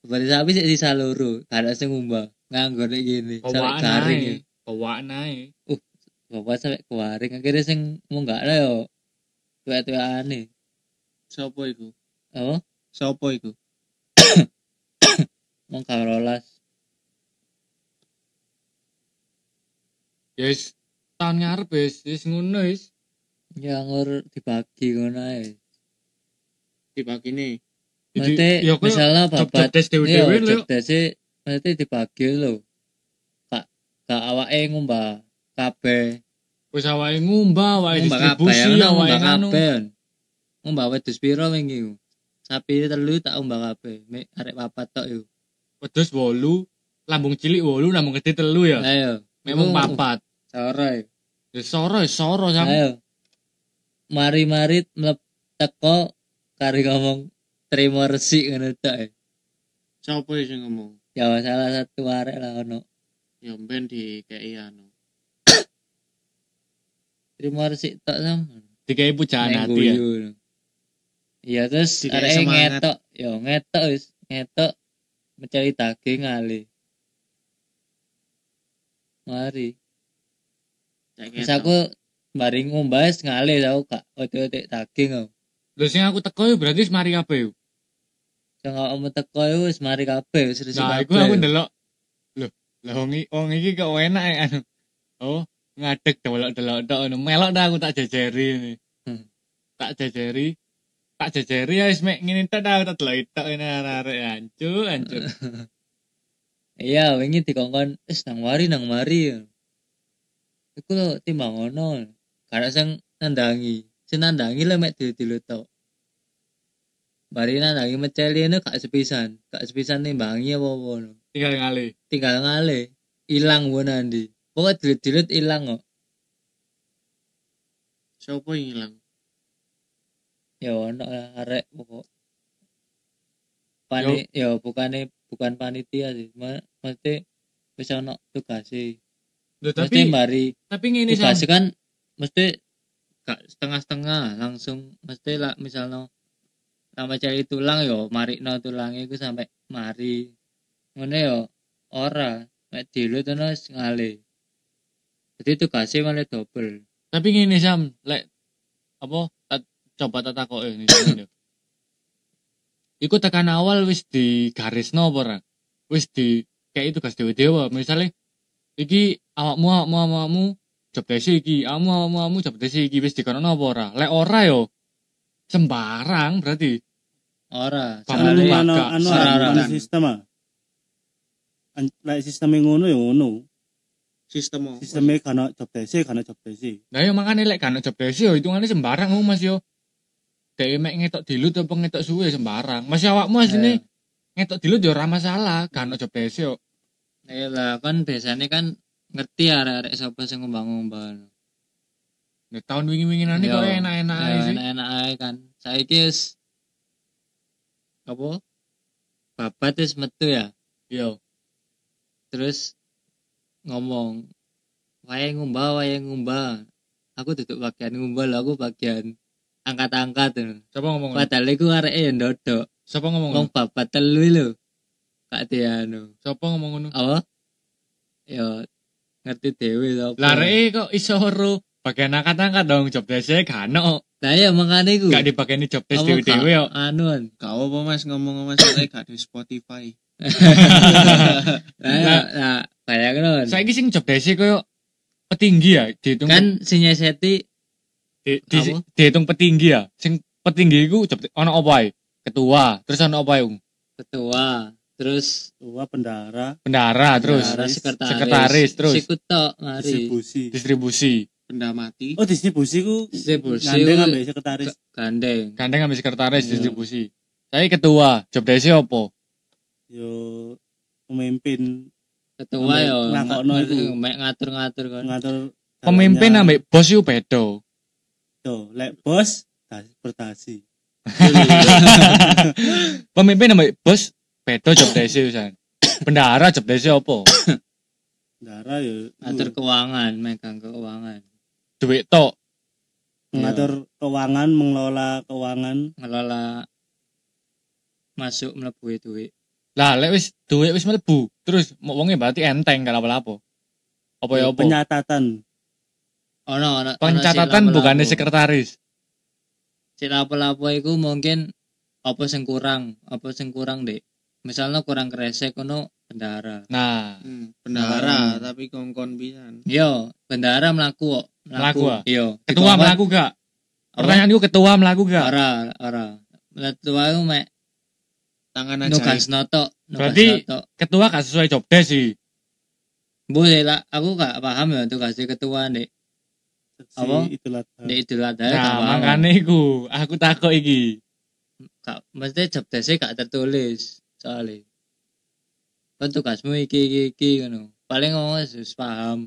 S3: bapate sapi sik sisa loro gak ada sing ngumbah nganggo nek gini sampe
S2: Kowaan
S3: garing
S2: ae.
S3: ya.
S2: Kowaan ae.
S3: bapak sampe garing akhirnya sing mau gak lah yo tuwek-tuwek aneh
S4: Sopo iku?
S3: apa
S4: Sopo iku?
S3: mau gak rolas
S2: Ya wis tahun ngarep wis wis ngono wis.
S3: ya ngur dibagi ngono ae
S4: Dibagine.
S3: Maksudnya,
S2: yo ya koyo
S3: misalnya babat
S2: job-jobdes
S3: Iya,
S2: dewe-dewe lho.
S3: jobdase maksudnya dibagi lho. Kak, kak awake ngumbah kabeh.
S2: Wis awake ngumbah, awake
S3: Ngumbah kabeh,
S2: distribusi,
S3: ngono,
S2: awake
S3: ngumbah
S2: anu.
S3: kabeh. Ngumbah wedhus pira wingi ku? Sapi telu tak umbah kabeh, mek arek papat tok yo.
S2: Wedhus 8, lambung cilik 8, lambung gede 3 ya.
S3: Ayo.
S2: Memang
S3: Iku- e.
S2: papat.
S3: Sore.
S2: Ya soro, ya soro sama.
S3: Ayo. Mari-mari mlep teko kari ngomong terima resik ngono tok. e.
S4: Sopo sing ngomong?
S3: Ya salah satu arek lah ono.
S4: Ya ben dikeki anu.
S3: Terima resik tok sama.
S2: Dikai pujaan
S3: Neng
S2: hati ya.
S3: guyu. Iya terus
S4: Dikai
S3: arek
S4: semangat.
S3: ngetok, yo ngetok wis, ngetok mencari daging ngali. Mari.
S4: Cek
S3: Terus
S4: ketok.
S3: aku mari ngumbah wis ngali tau kak, otot-otot daging aku.
S2: Lho sing aku teko ya berarti wis mari kabeh. ya?
S3: Sing awakmu teko iku wis mari kabeh wis resik
S2: Nah, iku
S3: kabeh.
S2: aku ndelok. Lho, lah wong iki wong iki kok enak ya anu. Oh, ngadeg delok-delok tok ngono. Melok dah aku tak jejeri ini.
S3: Hmm.
S2: Tak jejeri. Tak jejeri ya wis mek ngene tok dah aku tak delok tok ini arek-arek Ya, hancur, hancur.
S3: Eh. Iya, wingi dikongkon, wis nang mari nang mari. Iku lho timbang ngono. Karena sing nandangi, sing nandangi lho mek dulu tok. Mari nandangi meceli ini gak sepisan, gak sepisan timbangi apa apa lho.
S2: Tinggal ngali.
S3: Tinggal ngale, ilang wo nanti. Pokoknya dilut-dilut ilang kok.
S4: Sopo yang ilang?
S3: ya ono lah arek pokok pani ya bukane bukan panitia sih Ma- maksudnya bisa ono tugas sih
S5: Loh,
S3: mesti
S5: tapi
S3: mari
S5: tapi ngene sam
S3: tugas kan mesti gak setengah-setengah langsung mesti lah misalnya sampai cari tulang yo mari no tulangnya itu sampai mari ngono yo ora mek dilu terus ngale jadi tugasnya malah double
S2: tapi ngene sam lek apa tak, coba tak takok ini iku tekan awal wis di garis no ora wis di kayak tugas dewa dewa misalnya iki awakmu awakmu awakmu job desi iki awakmu awakmu awakmu job desi iki wis dikono apa ora lek ora yo sembarang berarti
S3: ora
S2: Kamu
S1: anu
S2: tuh
S3: soalnya
S1: anu
S2: gak
S1: anu
S3: saran.
S1: anu sistem ah An- lek sistemnya ngono ya ngono
S4: sistem oh.
S1: sistemnya karena job desi karena job desi
S2: Nah yo makane lek kan job desi yo hitungannya sembarang aku Mas yo. Dek mek ngetok dilut apa ngetok suwe sembarang. Mas awakmu asline ngetok dilut yo ora masalah, kan job desi yo.
S3: ya lah kan biasanya kan ngerti arek-arek sapa sing ngembang-ngembang
S2: Nek tahun wingi-winginane
S3: Yo.
S2: kok enak-enak
S3: Ya,
S2: ae sih.
S3: enak-enak ae kan saiki wis apa babat wis metu ya
S2: Yo.
S3: terus ngomong wayang ngumbah wayang ngumbah aku duduk bagian ngumbah lho aku bagian angkat-angkat lho.
S2: Sapa ngomong? ngono?
S3: padahal iku arek yang dodok
S2: Sapa ngomong? ngono?
S3: wong babat telu lho kak dia anu
S2: Sapa ngomong ngono?
S3: apa ya ngerti dewe lho apa.
S2: Lare kok iso ro bagian angkat-angkat dong job desi kan no.
S3: nah ya makanya iku
S2: Gak dipakeni job desi
S3: Ngomong gak-
S2: dewe yo.
S3: anu kan.
S4: Kau apa mas ngomong mas saya gak di Spotify.
S3: nah, ya, nah bayangin kan
S2: Saiki sing job desi koyo petinggi ya dihitung
S3: kan sinyal seti
S2: di, di,
S3: Apa?
S2: dihitung petinggi ya sing petinggi iku job ono apa ae ketua terus ono apa ae Um, Ung?
S3: ketua terus
S1: tua pendara
S2: bendara terus
S3: Bendahara, sekretaris,
S2: sekretaris, terus.
S3: sikut tok mari
S1: distribusi
S2: distribusi
S4: Benda mati.
S1: oh distribusi ku
S3: Distribusi
S1: gandeng
S3: ku-
S1: ambek sekretaris
S3: kan gandeng
S2: gandeng ambil sekretaris
S3: Iya.
S2: distribusi saya ketua job desi opo
S1: yo pemimpin
S3: ketua
S1: Ambek
S3: ya
S1: nglakokno
S3: mak-
S1: iku.
S3: mek ngatur-ngatur kan
S1: mengatur
S2: pemimpin
S1: jalannya.
S2: ambek bos itu bedo
S1: Tuh, lek bos tas- bertasi
S2: [LAUGHS] pemimpin ambek bos bedo job desi usan bendara job desi opo
S1: pendara yo
S3: ngatur keuangan megang keuangan
S2: duit tok
S1: mengatur keuangan mengelola keuangan
S3: ngelola masuk mlebu duit
S2: lah lek wis duit wis mlebu terus mau wongnya berarti enteng kalau apa apa apa ya apa
S1: penyatatan
S3: ono ono
S2: pencatatan bukannya sekretaris
S3: sik lapo-lapo iku mungkin apa sing kurang apa sing kurang dek misalnya kurang kresek ono bendahara
S2: nah
S4: Hmm, bendahara
S3: Hmm.
S4: tapi kongkon pisan.
S3: yo bendahara mlaku kok
S2: Mlaku, ah?
S3: yo
S2: ketua ya?
S3: Dikongkon-
S2: melaku gak
S3: Apa?
S2: pertanyaanku ketua melaku gak
S3: ora ora ketua iku mek
S4: Tangan aja.
S3: nugas notok nugas
S2: Berarti-
S3: notok
S2: ketua gak sesuai job desk sih
S3: boleh lah aku gak paham ya tugasnya ketua dek
S1: si
S3: Apa?
S1: itulah eh,
S3: Di Idul Adha ya gak
S2: Nah,
S3: paham.
S2: makanya iku, aku takut iki.
S3: Gak- mesti job desk-e gak tertulis soalnya. Kan tugasmu iki iki iki ngono. Paling ngomong wis paham.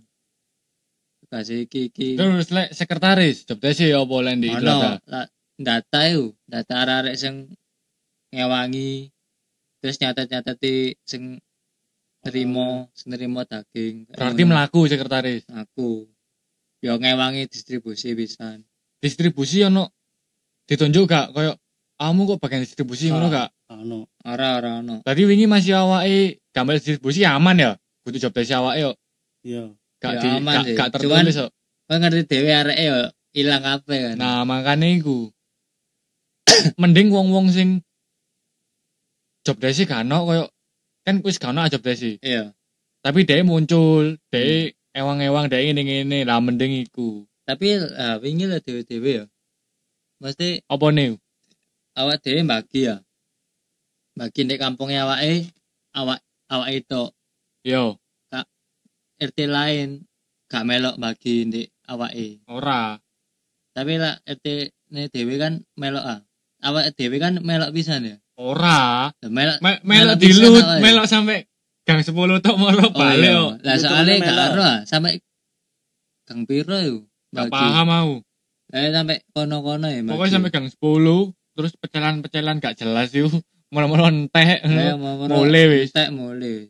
S3: Tugas iki iki.
S2: Terus lek sekretaris, job desk ya apa lek di Idul Adha?
S3: Iya. Ono la- data yo, data arek sing ngewangi terus nyatet-nyateti sing nerimo, sing nerimo daging.
S2: Berarti
S3: Ngono.
S2: melaku sekretaris.
S3: aku. Yo ngewangi distribusi pisan.
S2: Distribusi ono ditunjuk gak koyo kamu kok bagian distribusi
S3: Ah.
S2: ngono gak?
S1: anu
S3: Ora ora ono.
S2: Tadi wingi masih awake gambar distribusi aman ya. Kudu job desk awake yo.
S1: yo
S2: Gak
S3: Ya,
S2: di
S3: aman
S2: gak,
S3: sih.
S2: gak tertulis yo.
S3: Kan ngerti dhewe areke yo ilang kabeh kan.
S2: Nah, makanya iku. [COUGHS] Mending wong-wong sing job desk e gak ono koyo kan wis gak ono job desk.
S3: iya.
S2: Tapi dia muncul, dia ewang-ewang dia ngene-ngene lah mending iku.
S3: tapi ah, wingi lah dewe-dewe ya mesti
S2: Apa nih?
S3: awak dewe bagi ya bagi di kampungnya awake awak awak itu
S2: Yo,
S3: RT lain gak melok bagi di awake
S2: ora.
S3: tapi lah RT ne dewe kan melok ah awak dewe kan melok pisan ya
S2: Ora.
S3: Lah, melok
S2: Me melok
S3: Melok pisan
S2: dilut,
S3: awake.
S2: melok sampe gang 10 tok
S3: Oh,
S2: moro
S3: iya.
S2: balik. yo.
S3: lah
S1: Lu
S3: soalnya
S1: temenan
S3: gak
S1: melok.
S3: ero ah sampai gang piro yo
S2: Gak paham aku.
S3: Eh sampai kono-kono ya. Mas.
S2: Pokoknya sampai gang 10 terus pecelan-pecelan gak jelas [LAUGHS] yuk. Mula-mula entek.
S3: Eh,
S2: [LAUGHS] ngono.
S3: mau- mau-
S2: Mulai wis.
S3: Tek mulai.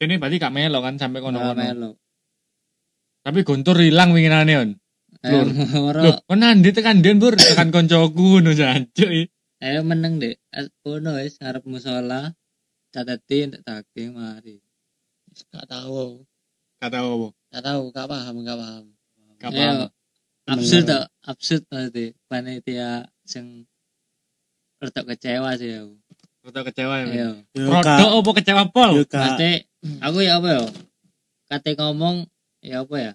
S2: Ini berarti gak melo kan sampai kono-kono.
S3: Melo.
S2: Tapi guntur hilang winginane on.
S3: Eh
S2: Lur.
S3: moro.
S2: Loh, kon nandi tekan den bur, tekan koncoku no jancuk.
S3: Ayo Eh, meneng dek. As- Kono wis ngarep musola. Cateti untuk daging mari.
S4: Gak tahu.
S2: Kata opo?
S4: Gak tahu, gak paham, gak paham.
S2: Gak
S3: Ayo,
S2: paham.
S3: Iya. Absurd tok, absurd pasti. Panitia sing rada kecewa sih aku.
S2: Rodo kecewa ya. men.
S3: Ayo.
S1: Yo
S2: Rodo
S1: kak,
S2: opo kecewa pol?
S1: yo kak.
S3: Kate, aku ya apa ya? Kate ngomong ya apa ya?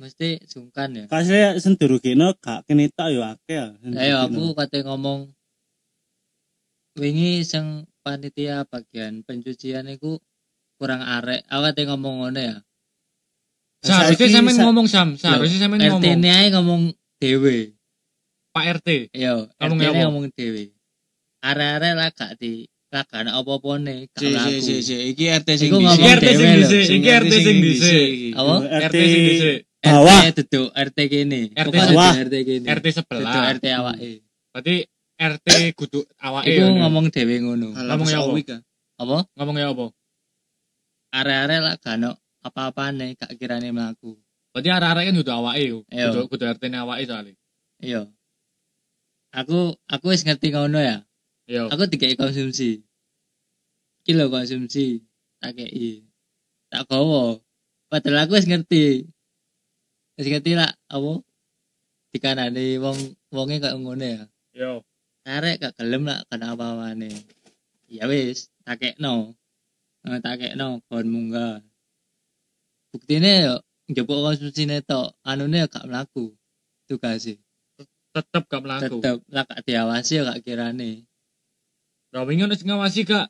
S3: Mesti sungkan ya.
S1: Kasih sendurukino kak kene tok yo akeh. ya,
S3: Ayo
S1: sendurukino.
S3: aku kate ngomong wingi sing panitia bagian pencucian iku kurang arek. Aku kate ngomong ngono ya.
S2: Seharusnya
S1: Saiki
S2: sampean
S1: sa-
S2: ngomong Sam, seharusnya sampean
S3: RT
S2: ngomong
S3: ini ae ngomong dhewe.
S2: Pak RT.
S3: Yo, RT
S2: Ngomong
S3: ini
S2: apa?
S3: ngomong dhewe. Arek-arek lah gak di lah gak ana apa-apane, gak
S4: Si, si, si,
S3: laku.
S4: si. Iki RT sing
S3: Iku
S4: dhisik.
S3: ngomong
S2: RT sing
S3: dhewe lho.
S2: dhisik. Iki RT sing dhisik.
S4: iki.
S3: Apa?
S2: RT sing dhisik.
S1: Bawah.
S3: RT duduk RT kene.
S2: RT
S3: Pokoknya
S1: bawah.
S3: duduk RT kene.
S2: RT
S3: Duduk
S2: sebelah.
S3: RT awake.
S2: Berarti RT kudu awake.
S3: Iku
S2: ya, men.
S3: ngomong dhewe ngono.
S4: Alah,
S2: Ngomong
S4: masa
S2: apa?
S4: awik, ah.
S3: Apa?
S2: ngomong ya opo?
S3: Arek-arek lah gak ono apa-apane, gak kirane mlaku.
S2: Berarti arek-arek kan kudu awake yo.
S3: Iya.
S2: Kudu kudu RT ne awake soalé.
S3: Iya. Aku aku wis ngerti ngono ya.
S2: Yo.
S3: Aku dikei konsumsi. Iki lho konsumsi. Tak kei. Tak gowo. Padahal aku wis ngerti. Wis ngerti lah apa? Dikanani wong wonge kok ngono ya.
S2: Yo.
S3: Arek gak gelem lah kena apa-apane. Ya wis, tak kekno. Eh, Tak kekno kon munggah. Buktine yo njupuk konsumsine tok, anune yo gak mlaku. Tugase.
S2: Tetep gak mlaku.
S3: tetep lah gak diawasi ya gak kirane
S2: Lah wingi ono sing ngawasi gak?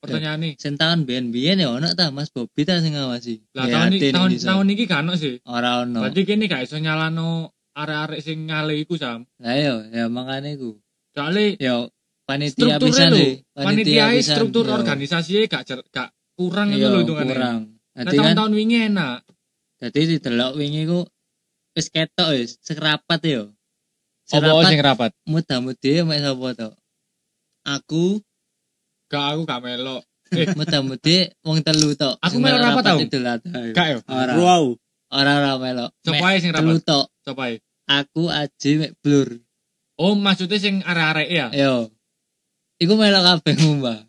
S2: Pertanyaane.
S3: sing tahun biyen-biyen ya ono ta Mas Bobi ta sing ngawasi
S2: Lah tahun
S3: Prihatin
S2: iki tahun
S3: iso.
S2: tahun iki gak ono sih.
S3: ora ono
S2: Berarti kene gak iso nyalano arek-arek sing ngale iku sam.
S3: lah yo ya makane ku
S2: Soale
S3: yo panitia
S2: Strukture
S3: pisan
S2: lho.
S3: sih
S2: panitia e
S3: pisan,
S2: struktur
S3: yo.
S2: organisasinya gak cer- gak kurang itu
S3: Yo,
S2: lho hitungane.
S3: Iya, kurang
S2: Nah,
S3: dadi kan
S2: tahun-tahun wingi enak.
S3: dadi didelok wingi ku wis ketok wis sekerapat yo
S2: Opo sing rapat?
S3: serapat muda-mudi ya, mek sapa to
S4: Aku
S2: Gak aku gak melok.
S3: muda-mudi wong telu to
S2: Aku melu rapat tau. Gak yo.
S3: ora
S1: Wow.
S3: ora ora melok
S2: Sapa
S3: Mek
S2: ae sing
S3: telu
S2: rapat?
S3: tok
S2: Sapa ae?
S3: aku aji mek blur
S2: Oh, maksudnya sing arek-arek ya.
S3: yo iku melok kabeh mbah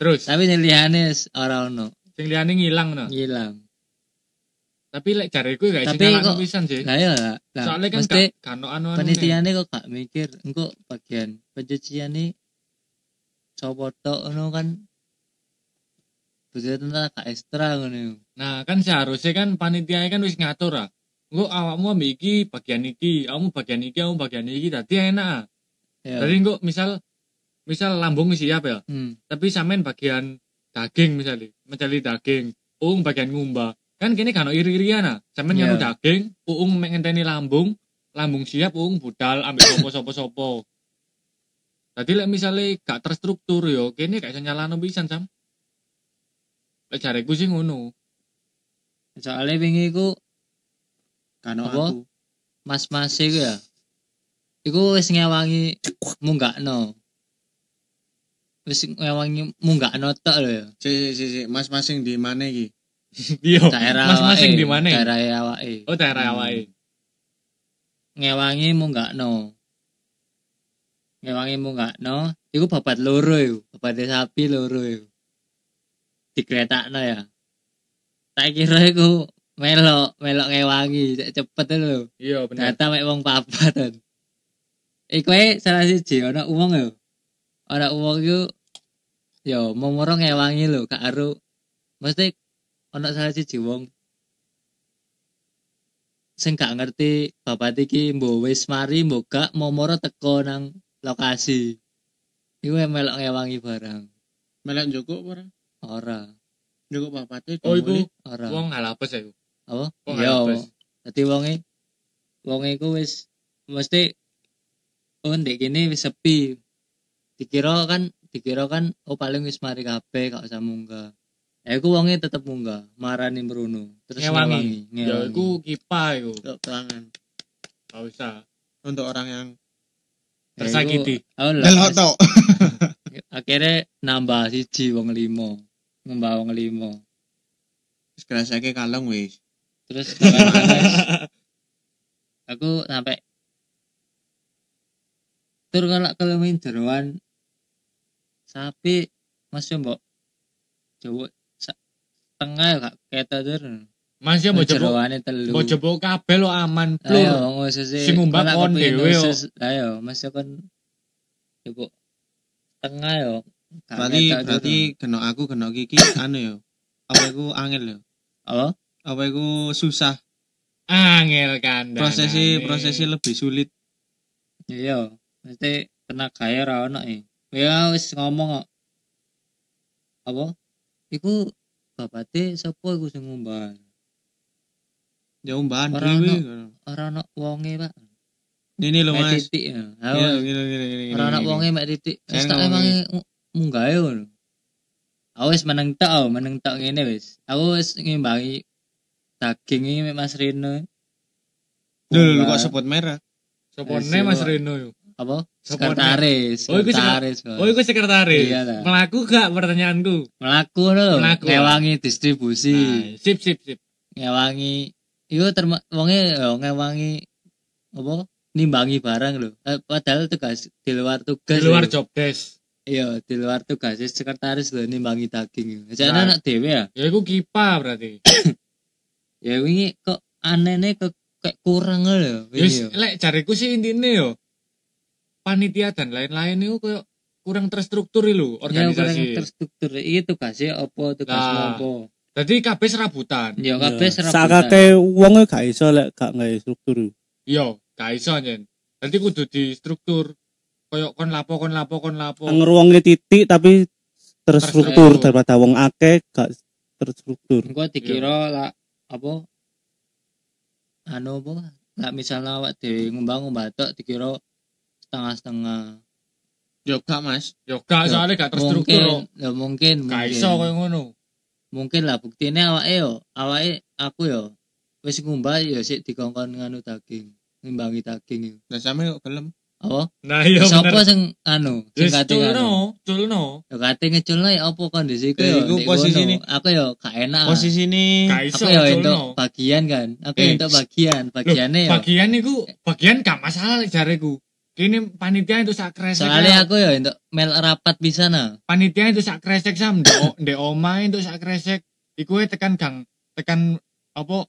S2: Terus
S3: tapi sing liyane wis ora ono
S2: sing liyane ngilang no.
S3: ilang
S2: Tapi lek jariku gak iso
S3: Tapi
S2: nyalano
S3: kok-
S2: pisan sih.
S3: lah ya lah Lah,
S2: Soalnya kan
S3: mesti
S2: gak gak ono anu-anu.
S3: penitiane kok gak mikir engko bagian pencuciane sapa tok ngono kan Bujet tentang gak ekstra ngono.
S2: Nah, kan seharusnya kan panitia kan wis ngatur ah. Engko awakmu ambek iki bagian iki, awakmu bagian iki, awakmu bagian iki. Dadi enak. ah.
S3: Ya.
S2: Dadi engko misal misal lambung wis siap ya,
S3: Hmm.
S2: tapi sampean bagian daging misalnya, mencari daging, uung bagian ngumba. Kan kene kan iri-irian ah. Sampean nganu
S3: Iya.
S2: daging, uung mek ngenteni lambung, lambung siap uung budal ambek sopo-sopo-sopo. Dadi lek misale gak terstruktur yo, kene gak iso nyalano pisan, Sam. Lek jareku sih ngono. [LAUGHS]
S3: Soalnya wingi iku
S4: kan
S3: Apa?
S4: aku.
S3: mas-mas iku ya. Iku wis ngewangi munggakno. Wis ngewangi munggakno tok lho ya.
S4: Si, si, si, si. Mas-mas sing di mana iki?
S2: Iya.
S3: daerah
S2: Mas-masing
S3: awake,
S2: di mana?
S3: daerah awake
S2: Oh daerah
S3: Hmm.
S2: awake.
S3: ngewangi mu nggak no ngewangi mu nggak no iku babat loro iku babat sapi loro iku di kereta no ya tak kira iku melok melok ngewangi cek cepet lho
S2: Iya bener.
S3: data mek wong papatan iku ae salah siji ana uang yo ana uang iku yo momoro ngewangi lho gak aru mesti ana salah siji wong sing gak ngerti bapak iki mbok wis mari mbok gak momoro teko nang lokasi iku ae melok ngewangi barang
S4: Melak Joko apa ora?
S3: ora
S4: Joko papate.
S2: Oh iku
S3: ora
S2: wong halapes ya. iku.
S3: apa
S2: Wong
S3: yo
S2: halapes.
S3: Dadi wonge wonge iku wis mesti oh ndek kene wis sepi. Dikira kan dikira kan oh paling wis mari kabeh gak usah munggah. Ya iku wonge tetep munggah, marani mrunu. Terus
S2: Ngewangi.
S3: iya, ngewangi.
S2: Ya iku kipa iku.
S4: Dok terangan.
S2: Gak usah.
S4: untuk orang yang
S2: Tersakiti.
S3: Oh
S4: delok
S3: lah.
S4: tok.
S3: Akhirnya nambah siji wong limo. Nambah wong limo.
S4: Wis kerasake kalong wis.
S3: Terus
S2: [LAUGHS]
S3: kapan-kapan, aku sampai tur ngelak kelemin jeroan sapi masih mbok Jawa sa- tengah ya, kak keta tur
S2: Masih mau jebok,
S3: jeroane telu
S2: mau jebok kabel lo aman
S3: ayo
S2: plur.
S3: ngusus
S2: Sing ngumbak kon dhewe, yo.
S3: ayo masih kon jebok tengah yo Gak
S4: Berarti
S3: ketok tur.
S4: berarti kena aku kena kiki [COUGHS] anu yo. Apa iku angel yo?
S3: apa
S4: Apa iku susah?
S2: Angel kan.
S4: Prosesi prosesi lebih sulit.
S3: Iya, mesti kena gaya ra ono e. Ya wis ngomong kok. Apa? Iku babate sapa iku sing ngumbah?
S4: Ya umbahan
S3: Ora
S4: dhewe.
S3: Ora ono wonge, Pak.
S4: Ini lho
S3: Mek
S4: Mas.
S3: titik. ya. Ha,
S4: Iya,
S3: Mas.
S4: gini, gini, gini,
S3: Ora ono
S4: gini.
S3: wonge mek titik. Wis
S4: Saya
S3: tak
S4: ngomong
S3: emange mu- munggahe ngono. Aku wis meneng tok, aku meneng tok ngene wis. Aku wis ngimbangi daging iki mek Mas Rino.
S4: Lho, lho, lho,
S3: Munggah.
S4: kok sebut merah?
S2: Sopone Mas Reno yo.
S3: apa?
S2: Sopone.
S3: Sekretaris.
S2: Oh, iku sekre-
S3: sekretaris, Bos.
S2: Oh, iku sekretaris.
S3: Iya, lah.
S2: Melaku gak pertanyaanku?
S3: melaku lho,
S2: Melaku.
S3: ngewangi distribusi.
S2: Nah, sip sip sip.
S3: ngewangi iku terma wonge ya ngewangi apa nimbangi barang lho Eh, padahal tugas di luar tugas
S2: Di luar
S3: lho.
S2: job desk.
S3: iya di luar tugas sekretaris lho nimbangi daging
S2: Nah.
S3: jane anak dhewe ya
S2: Ya iku kipa berarti.
S3: ya wingi kok anehnya kok kayak kurang lho
S2: Wis
S3: wingi ya. yo.
S2: lek jariku sih intine yo. Panitia dan lain-lain itu koyo kurang terstruktur lho
S3: Ya, kurang
S2: organisasi.
S3: terstruktur iki tugasnya apa tugas
S2: Nah.
S3: apa
S2: Jadi kabeh serabutan.
S3: ya kabeh serabutan
S1: Sakate wong gak iso lek gak nggak struktur.
S2: Yo, Iya, gak iso nyen. Nanti kudu di struktur koyo kon lapo kon lapo kon lapo.
S1: Anger wonge titik tapi terstruktur
S2: Terstruktur.
S1: daripada wong akeh gak terstruktur.
S3: engko
S2: Iya.
S3: dikira lah apa anu apa lah misalnya awak dhewe ngumbang-ngumbang tok dikira setengah-setengah
S4: Yo gak, Mas.
S2: Yo gak
S3: Yo,
S2: soalnya gak terstruktur.
S3: mungkin ya mungkin
S2: Gak
S3: mungkin.
S2: iso koyo ngono.
S3: mungkin lah buktinya awake yo awake aku yo wis ngumbah yo sik dikongkon nganu daging ngimbangi daging yo
S4: Lah sampe kok gelem.
S2: [LAUGHS]
S3: apa
S2: Nah, iya
S3: sapa
S2: bener.
S3: sing anu sing
S2: Wis
S3: kate anu
S2: culno, culno.
S3: yo kate ngeculno ya apa
S4: Ya,
S3: kondisiku
S2: Eh,
S3: yo
S4: iku
S3: ndek
S4: posisi
S3: kono.
S4: ini.
S3: aku yo gak enak
S4: Posisi ini
S2: Gak iso
S3: aku yo entuk
S2: culno.
S3: bagian kan aku
S2: Eh,
S3: entuk bagian bagiannya yo
S2: Bagian niku bagian gak masalah lek jariku. Ini panitia itu sak kresek. ya.
S3: soalnya aku yo entuk mel rapat ah. bisa nah
S2: panitia itu sak kresek sam ndek ndek omahe itu sak kresek iku ae tekan gang tekan apa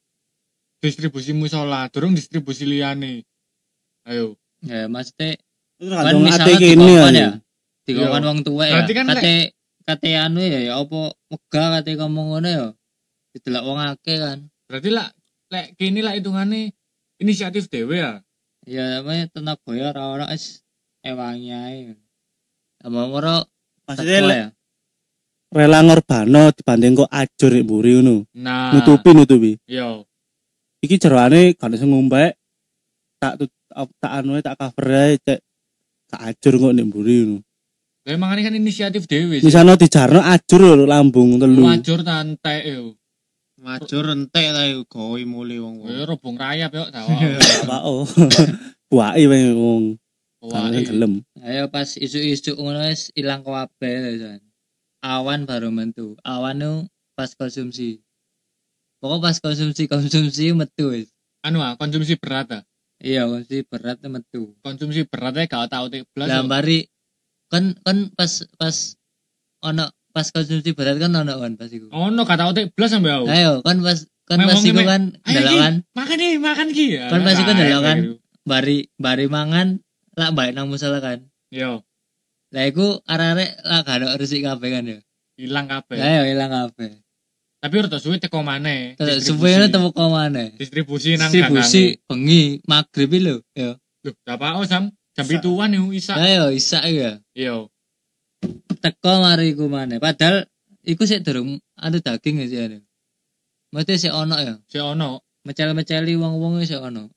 S2: distribusi musola durung distribusi liyane ayo
S3: ya maksudnya
S1: Terus
S3: kan
S1: kadang ate
S3: misalnya
S1: kene
S3: dikongkon
S1: ya.
S3: ya dikongkon
S2: Iya.
S3: wong tua ya
S2: Berarti kan lek-
S3: kate kate anu ya ya apa megah kate ngomong ngono ya didelok wong akeh kan
S2: berarti lah lek kini lah hitungane inisiatif dhewe ya
S3: ya namanya tenaga ya ora ora es ewangi ae sama moro
S1: Maksudnya
S3: tetua
S1: lek
S3: ya
S1: rela ngorbano dibanding kok ajur nek mburi ngono.
S2: nah iya.
S1: Nutupi nutupi.
S2: yo
S1: Iki jeroane gak iso ngombe tak tut- tak anu tak cover ae cek tak ajur kok nek mburi ngono.
S2: lha mangane kan inisiatif dhewe sih
S1: Misalnya dijarno ajur lho lambung telu.
S2: wajur tante yo
S4: majur rentek ta yo goi mule wong-wong.
S2: yo robong rayap yo tawa
S1: Apa oh. Buai e wae wong.
S2: Wah,
S1: Kan
S2: iya.
S1: gelem.
S3: ayo pas isu-isu ngono es ilang kabeh lho, Jan. awan baru mentu awan nu pas konsumsi pokok pas konsumsi konsumsi metu wis
S2: anu ah konsumsi berat ah
S3: iya konsumsi berat nu metu
S2: konsumsi berat ae gak tau tek blas
S3: lah
S2: yo.
S3: mari kan kan pas pas ono pas konsumsi berat kan ono kan pas iku
S2: ono gak tau tek blas sampe aku
S3: ayo kan pas
S2: Oh.
S3: kan
S2: Memang
S3: pas iku
S2: ngemek.
S3: kan
S2: Ayo,
S3: delok
S2: Ki.
S3: kan
S2: makan nih makan ki Ya,
S3: Kan pasti kan
S2: nah,
S3: delok kan.
S2: ayo.
S3: bari bari mangan lak baik nang musala kan
S2: yo
S3: lah iku arek-arek lak gak ada resik kabeh kan ya
S2: hilang kabeh
S3: lah yo ilang kabeh
S2: tapi rada suwe teko maneh
S3: terus
S2: distribusi.
S3: supaya Eh, temu kok mana
S2: distribusi nang
S3: distribusi bengi magrib iki lho yo
S2: gangane. Loh, gak apa sam jam
S1: Isak.
S2: 7-an yo isak
S3: lah yo isak iku ya
S2: yo
S3: teko mari iku mana padahal iku sik durung anu daging sih anu mesti sik ono ya
S2: si ono
S3: mecel-meceli wong-wong wis ono.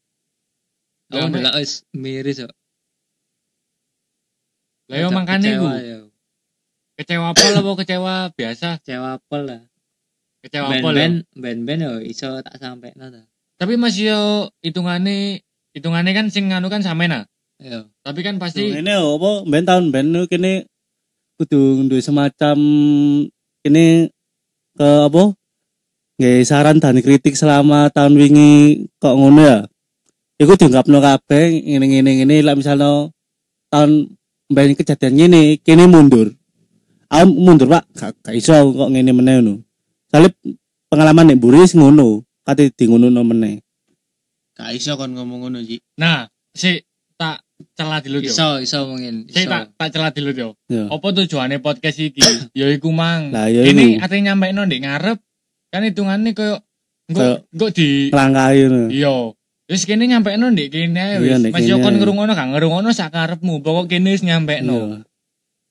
S2: Lah,
S3: Aku
S2: nek-
S3: ndelok wis miris kok.
S2: lha yo
S3: Kece-
S2: mangkane
S3: kecewa
S2: iku
S3: ya.
S2: kecewa apa apa kecewa biasa
S3: Kecewa apa lah.
S2: kecewa ya? apa lho
S3: Ben-ben ben-ben yo iso tak sampe ta.
S2: tapi masih yo hitungane hitungannya kan sing nganu kan samena
S3: Ayo.
S2: tapi kan
S1: Loh,
S2: pasti
S1: ini apa ben tahun ben ini kene kudu duwe semacam kene ke apa nggih saran dan kritik selama tahun wingi kok ngono ya iku diungkapno kabeh ngene-ngene ngene lek misalnya tahun ben kejadian ngene kene mundur aku mundur Pak gak, gak iso aku kok ngene meneh ngono salib pengalaman nek buris ngono kate di ngono meneh
S4: Gak iso kon ngomong ngono Ji.
S2: nah si tak celah dulu yo
S3: Iso, iso mungkin.
S2: si
S3: Iso.
S2: tak tak celah dulu yo
S1: Ya.
S2: apa tujuannya podcast iki ya iku mang
S1: lah ya
S2: ini
S1: ini
S2: artinya nyampe nang ndek ngarep kan hitungannya koyo
S1: Kayak-
S2: engko engko di
S1: langkai ngono
S2: Iya. Wis kene nyampekno ndek kene ae
S1: Iya,
S2: wis.
S1: ndek
S2: Mas
S1: kene
S2: yo kon
S1: ae.
S2: ngrungono gak ngrungono sak karepmu, pokok kene wis
S1: Ya.
S2: nyampekno.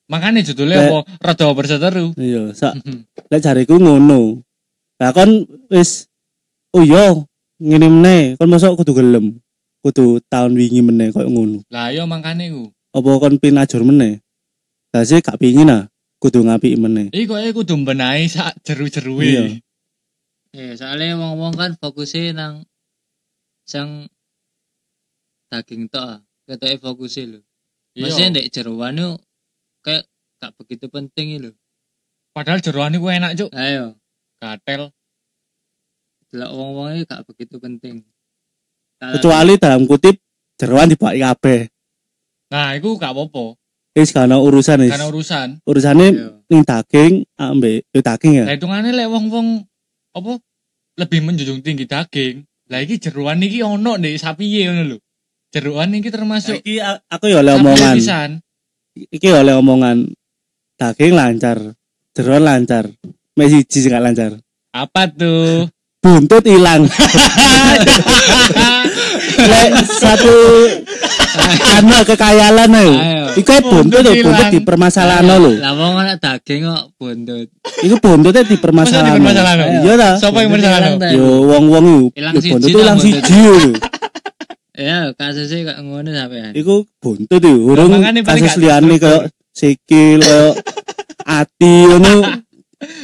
S2: Makane judule
S1: Lek-
S2: apa? Rada berseteru.
S1: Iya, sak lek jariku ngono. Lah kon wis oh iya ngene meneh, kon mosok kudu gelem. Kudu tahun wingi meneh koyo ngono.
S2: Lah yo makane ku.
S1: Apa kon pinajur meneh? Lah sih gak pingin ah, kudu ngapiki meneh.
S2: Iku kowe kudu mbenahi sak
S1: Iya.
S2: jeru-jeruwe.
S3: Iya, soalnya wong-wong kan fokusnya nang sang daging tok. ah. Ketoke fokusnya lho.
S2: Iya.
S3: Maksudnya ndek jeroan yo kayak gak begitu penting lho.
S2: Padahal jeroan iku enak, Cuk.
S3: Ayo,
S2: Gatel.
S3: delok wong-wonge gak begitu penting. Kalau-
S1: Kecuali dalam kutip jeroan dibaki kabeh.
S2: Nah, iku gak apa-apa.
S1: Wis gak ono urusan wis.
S2: Karena urusan.
S1: Urusane
S3: Iya.
S1: ning daging ambek yo daging ya.
S3: Nah,
S2: Lah hitungane Nah, lek wong-wong apa lebih menjunjung tinggi daging. Lah iki jeroan iki ono ndek sapiye ngono lho. Jeroan iki
S3: Nah,
S2: termasuk
S1: Iki a- aku yo oleh
S2: sapiye
S1: omongan.
S2: pisan.
S1: Iki oleh omongan daging lancar, jeroan lancar. Mes siji sing gak lancar.
S2: Apa tuh?
S1: Buntut hilang. lek satu anu kekayalan ayo.
S3: Ayo.
S1: Iku ae buntut lho,
S2: Buntut
S1: buntut
S2: ilang.
S1: dipermasalahno lho.
S3: Lah wong ana daging kok buntut.
S1: Iku buntutnya dipermasalahno.
S2: dipermasalahno?
S1: Iya ta?
S2: Siapa yang
S3: Buntut
S2: bersalah?
S3: hilang,
S2: Nok?
S3: Teh.
S1: Yo wong-wong yo
S3: Ilang
S1: yo
S3: siji
S1: buntut
S3: ta,
S1: ilang
S3: buntut?
S1: siji lho.
S3: Ya, kasusnya kok ngono sampean.
S1: Iku buntut yo urung
S2: Makanya paling
S1: kasus
S2: gak
S1: liyane
S2: distruktur.
S1: koyo sikil koyo ati ngono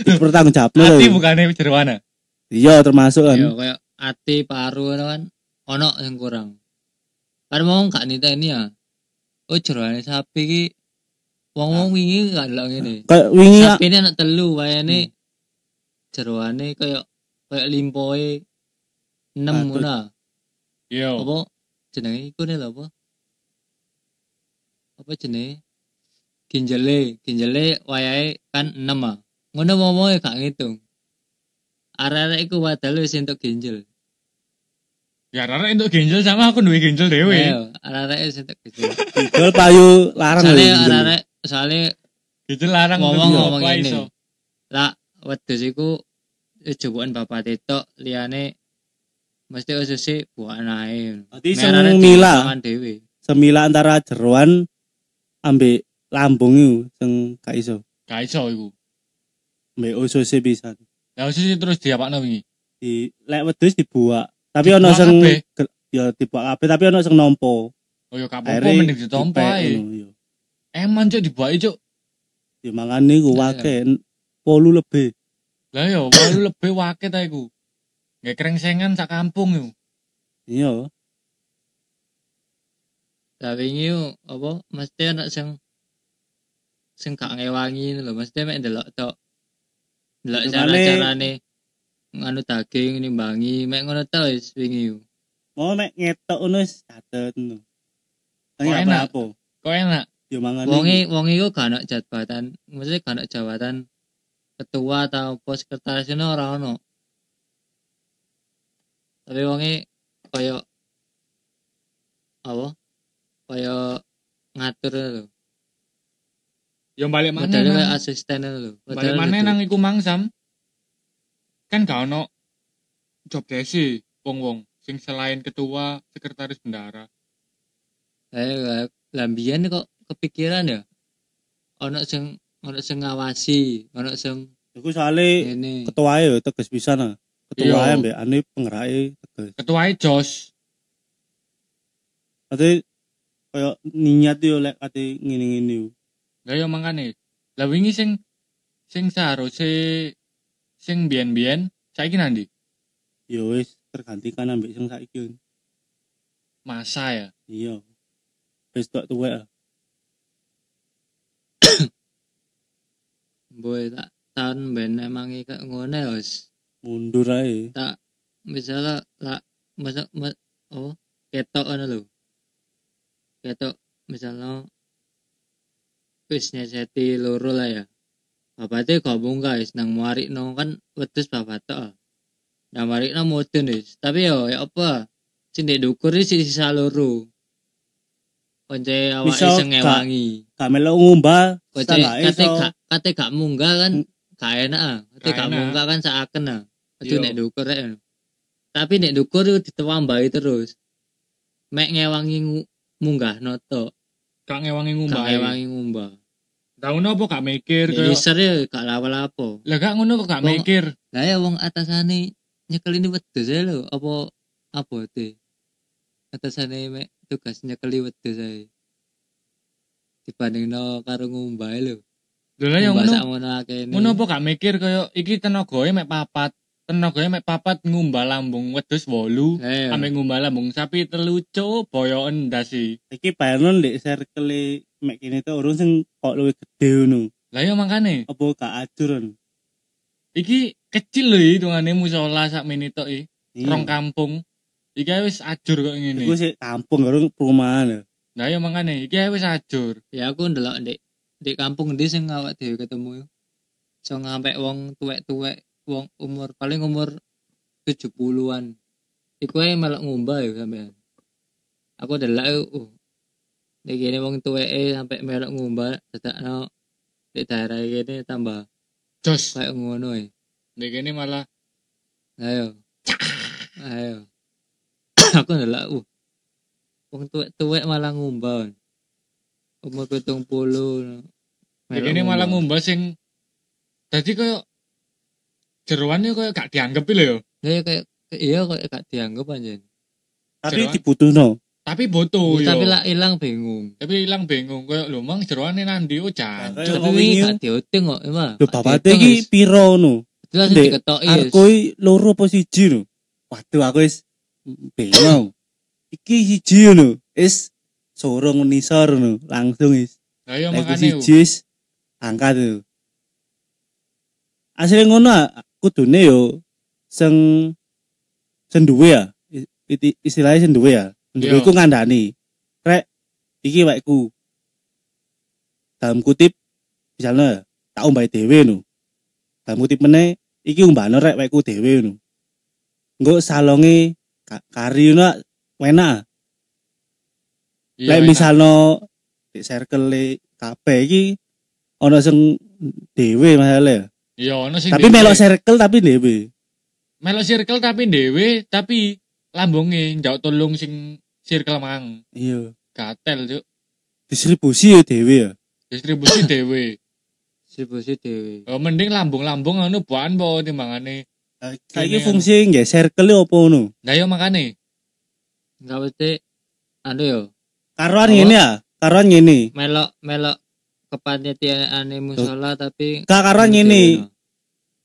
S1: dipertanggung
S2: Ati
S1: jawabno lho.
S2: bukannya jeroan ah?
S1: Iya termasuk kan.
S3: Ya kayak ati paru ngono kan ono yang kurang. Kan wong gak niteni ya. Oh jeroane sapi ki wong-wong wingi gak delok ngene.
S1: Kayak wingi
S3: Sapi ini anak telu wayane jeroane kayak kayak limpoe 6
S1: Patut.
S3: ngono. ah.
S2: Yo.
S3: Apa jenenge iku ne lho apa? Apa jenenge? Ginjele, ginjele wayahe kan 6 ah. Ngono momoe gak ngitung. Arek-arek iku wadal wis entuk ginjel.
S2: Ya karena untuk ginjal sama aku duwe ginjal dewe.
S3: Ayo, arek-arek wis entuk ginjel.
S1: gol payu larang lho.
S3: Soale
S1: ginjel.
S3: arek-arek soale
S2: Ginjal larang
S3: ngomong
S2: untuk
S3: ngomong
S2: apa
S3: ini
S2: iso.
S3: lah wedhus iku jebukan bapak tetok liyane mesti ususe buakan ae
S1: Dadi sing milah.
S3: dhewe
S1: semila antara jeroan ambek lambung itu sing gak iso
S2: Gak iso iku.
S1: ambek usus bisa
S2: Lah usus terus diapakno wingi.
S1: di lek wedhus dibuak tapi ono
S2: Dibuak
S1: sing
S2: kabeh.
S1: ge- ya dibuak kabeh tapi ono sing nampa
S2: Oh ya gak apa-apa
S1: akhirnya
S2: mending ditompo
S1: dipek
S2: ae.
S1: ngono, ya.
S2: Eman cuk dibuaki cuk.
S1: ya mangane ku
S3: Nah,
S1: wake
S2: iya.
S1: polu lebih
S2: Lah yo walu lebih wake ta iku. Gak krengsengan sak kampung yo.
S1: iya
S3: lah wingi yo, apa mesti ana sing sing gak ngewangi ngono lho mesti mek ndelok tok ndelok
S1: Hitungannya-
S3: cara-carane nganu daging nimbangi mek ngono tok wis wingi yo.
S1: mau mek ngetok ngono wis catet ngono
S2: Kok
S1: Tapi
S2: enak?
S1: apa apa
S2: Kok enak.
S1: ya mangane
S3: wonge wonge iku gak ana jabatan mesti gak ana jabatan ketua atau apa sekretaris ini ora ono tapi wonge kaya apa kaya ngatur lho
S2: Yo Ya, balik mana?
S3: modelnya kaya
S2: nang-
S3: asisten lho
S2: Balik mana nang iku mangsam. Kan gak ono job desi wong-wong sing selain ketua sekretaris bendara.
S3: eh lambian kok kepikiran ya ono sing ono sing ngawasi ono sing
S1: iku soalnya
S3: ini
S1: ketuae yo tegas pisan ah. lah ketuae
S2: Hmm. Iya.
S1: ambek ane pengerake tegas
S2: Ketuae Jos.
S1: Ate koyo niat yo lek ate ngene-ngene yo.
S2: Lah yo mangkane. Lah wingi sing sing seharusnya sing biyen-biyen saiki nandi.
S1: Ya wis tergantikan ambek sing saiki.
S2: masa ya
S1: Iya. Wis tok tuwek. ah.
S3: Boy tak tahun ben emang kayak ngono wis.
S1: Mundur ae.
S3: Tak misalnya lah masa ma, oh ketok ngono lho. Ketok misalnya wis nyeseti loro lah ya. Bapaknya gabung guys nang muarik no kan wedhus bapak tok. ah. Nang muarik no modern wis. Tapi yo ya apa? Sing ndek dukur iki sisa loro. Konce awake
S1: Misal
S3: sing
S1: gak-
S3: ngewangi.
S1: Gak melok ngumbah.
S3: Kate
S1: setengah
S3: kate
S1: iso.
S3: gak kate gak munggah kan gak enak ah. Kate
S2: Gak
S3: gak
S2: enak.
S3: munggah kan seaken ah. Itu
S2: Iya.
S3: nek dukur rek. Tapi nek dukur itu ditewambahi terus. Mek ngewangi ngu- munggah noto,
S2: gak ngewangi
S3: gak
S2: ngumbah
S3: ngewangi ngumbah.
S2: tahu nopo gak mikir
S3: Nek
S2: kaya
S3: user ya gak lapo-lapo.
S2: lah gak ngono kok gak
S3: Wong-
S2: mikir
S3: Lah ya wong atasane nyekel ini wedhus ae lho, apa abote. Atasane mek tugas nyekeli wedhus ae. Dibandingno karo ngumbah ae lho.
S2: lho lah yang
S3: Ngumbah
S2: ngono
S3: sak ngono akeh
S2: ngono apa gak mikir kaya iki tenagae mek papat tenagae mek papat ngumbah lambung wedhus wolu
S3: Lah ya.
S2: ame ngumbah lambung sapi telu cuk boyo endasi
S1: Iki bayangno ndek circle mek kene tuh urung sing kok luwih gede ngono.
S2: lah ya makane
S1: Apa gak ajuran?
S2: iki kecil lho hitungane musola sak menit tok iki
S1: Iya.
S2: rong kampung iki ae wis ajur kok
S1: Iku
S2: ngene
S1: sih kampung karo perumahan. ya.
S2: lah ya makane iki ae wis ajur
S3: ya aku ndelok ndek ndek kampung ndi sing awak dhewe ketemu yo so ngampe wong tuwek-tuwek wong umur paling umur 70-an iku ae melok ngumbah yo sampean aku ndelok yo, oh nek kene wong tuweke sampe melok ngumbah dadakno ndek daerah kene tambah
S2: jos
S3: kayak ngono e
S2: nek kene malah
S3: ayo ayo [COUGHS] aku ndelok uh wong tuwek-tuwek malah ngumbah umur 70
S2: nek kene malah ngumbah sing dadi kaya jeroane kaya gak dianggepi lho ya
S3: Ya kayak iya kayak gak dianggap anjen.
S1: Tapi
S2: Jeroan.
S1: dibutuhno.
S2: tapi boto yo
S3: Tapi lah ilang bingung.
S2: tapi ilang bengong kaya lho mang jeroane nandi oh jan
S1: Kayak
S3: Tapi
S1: wong
S3: ini
S1: wingi,
S3: gak dioting kok emang.
S1: Lho bapakte iki piro ngono?
S3: jelas
S1: Dek,
S3: diketoki. iya, wis.
S1: Aku i loro apa siji no? Waduh aku wis bingung. Iki siji no. Is sorong nisor no. Langsung is.
S2: lah ya
S1: Lah, Iku
S2: makane
S1: siji is angkat no. Asline ngono ah, kudune yo sing senduwe ya. I- iti- Istilahnya senduwe ya. Senduwe
S2: Iya.
S1: ku ngandani. Rek iki waekku. Dalam kutip misalnya tak umbahi dhewe no. Dalam kutip meneh iki umbano rek wekku dhewe ngono. Engko salonge ka- kari ngono wena.
S2: Iya,
S1: Lek
S2: enak.
S1: misalno di circle e kabeh iki ana sing dhewe masalahe.
S2: iya ono sing
S1: Tapi
S2: dhewe.
S1: melok circle tapi dhewe.
S2: melok circle tapi dhewe tapi lambunge njak tolong sing circle mang
S1: Iya.
S2: gatel cuk
S1: Distribusi ya dhewe ya.
S2: distribusi dhewe
S3: distribusi dhewe.
S2: Oh, mending lambung-lambung anu buan po timbangane.
S1: Saiki
S2: Kene
S1: fungsi nggih circle opo ngono?
S2: Lah yo makane.
S3: Enggak mesti anu yo
S1: Karoan
S3: Apa?
S1: ngene ya. Karoan ngene.
S3: melok melok kepanitiaane musola tapi
S1: Gak karoan ngene.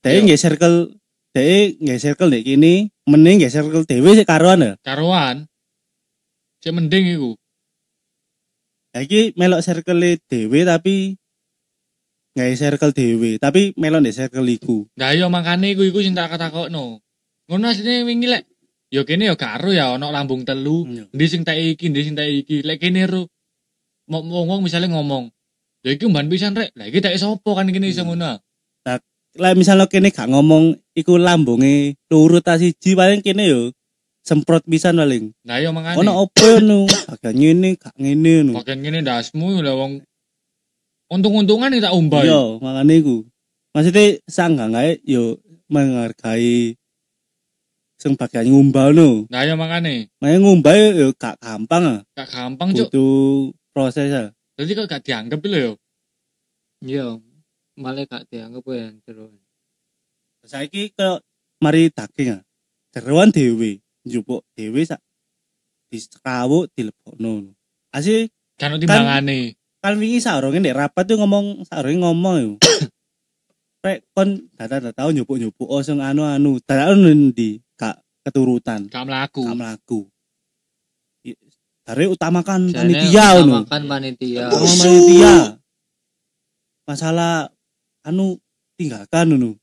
S1: Dhewe
S2: Iya.
S1: nggih circle dhewe nggih circle nek kene meneh nggih circle dhewe sik karoan ya.
S2: Karuan. Cek mending iku.
S1: Lah iki melok circle e dhewe tapi nggak circle dhewe, tapi melok di circle iku.
S2: Lah yo makane iku iku sing tak katakno. Ngono asline wingi lek yo kene yo karo ya ono lambung telu. Ndi sing tak iki, ndi sing tak iki. Lek kene ro mau ngomong misalnya ngomong. Lah iki mban pisan rek. Lah iki tak sapa kan kene iso ngono.
S1: Lah misalnya kene gak ngomong iku lambunge lurut ta siji paling kene yo semprot pisan paling.
S2: Lah yo makane.
S1: Ono opo yo nu, agak ngene, gak ngene nu.
S2: Pakaian kene ndasmu lah wong untung-untungan tak umbah.
S1: Iya, makane iku. Maksudnya sanggangae yo menghargai sing bagian ngumbah no.
S2: Lah yo Nah, iya, makane.
S1: Makanya ngumbah yo- yo gak gampang ah.
S2: Gak gampang cuk.
S1: Butuh proses ah.
S2: Jadi kok gak dianggap lho yo.
S3: Yo malah gak dianggap ya terus.
S1: saiki ke mari daging ah. Jeroan dhewe, njupuk dhewe sak disekawuk dilebokno. Asih
S2: Kan timbangane.
S1: kan wingi saurunge nek rapat tuh ngomong saurunge ngomong
S3: [COUGHS]
S1: yo. Rek kon data tau njupuk-njupuk oh sing anu-anu. Dadakno ndi? Kak keturutan,
S3: Hmm.
S2: gak mlaku.
S1: kak mlaku. I- Dari utamakan
S3: Jane
S1: panitia ngono.
S3: utamakan panitia
S1: Utama panitia. Masalah anu tinggalkan ngono.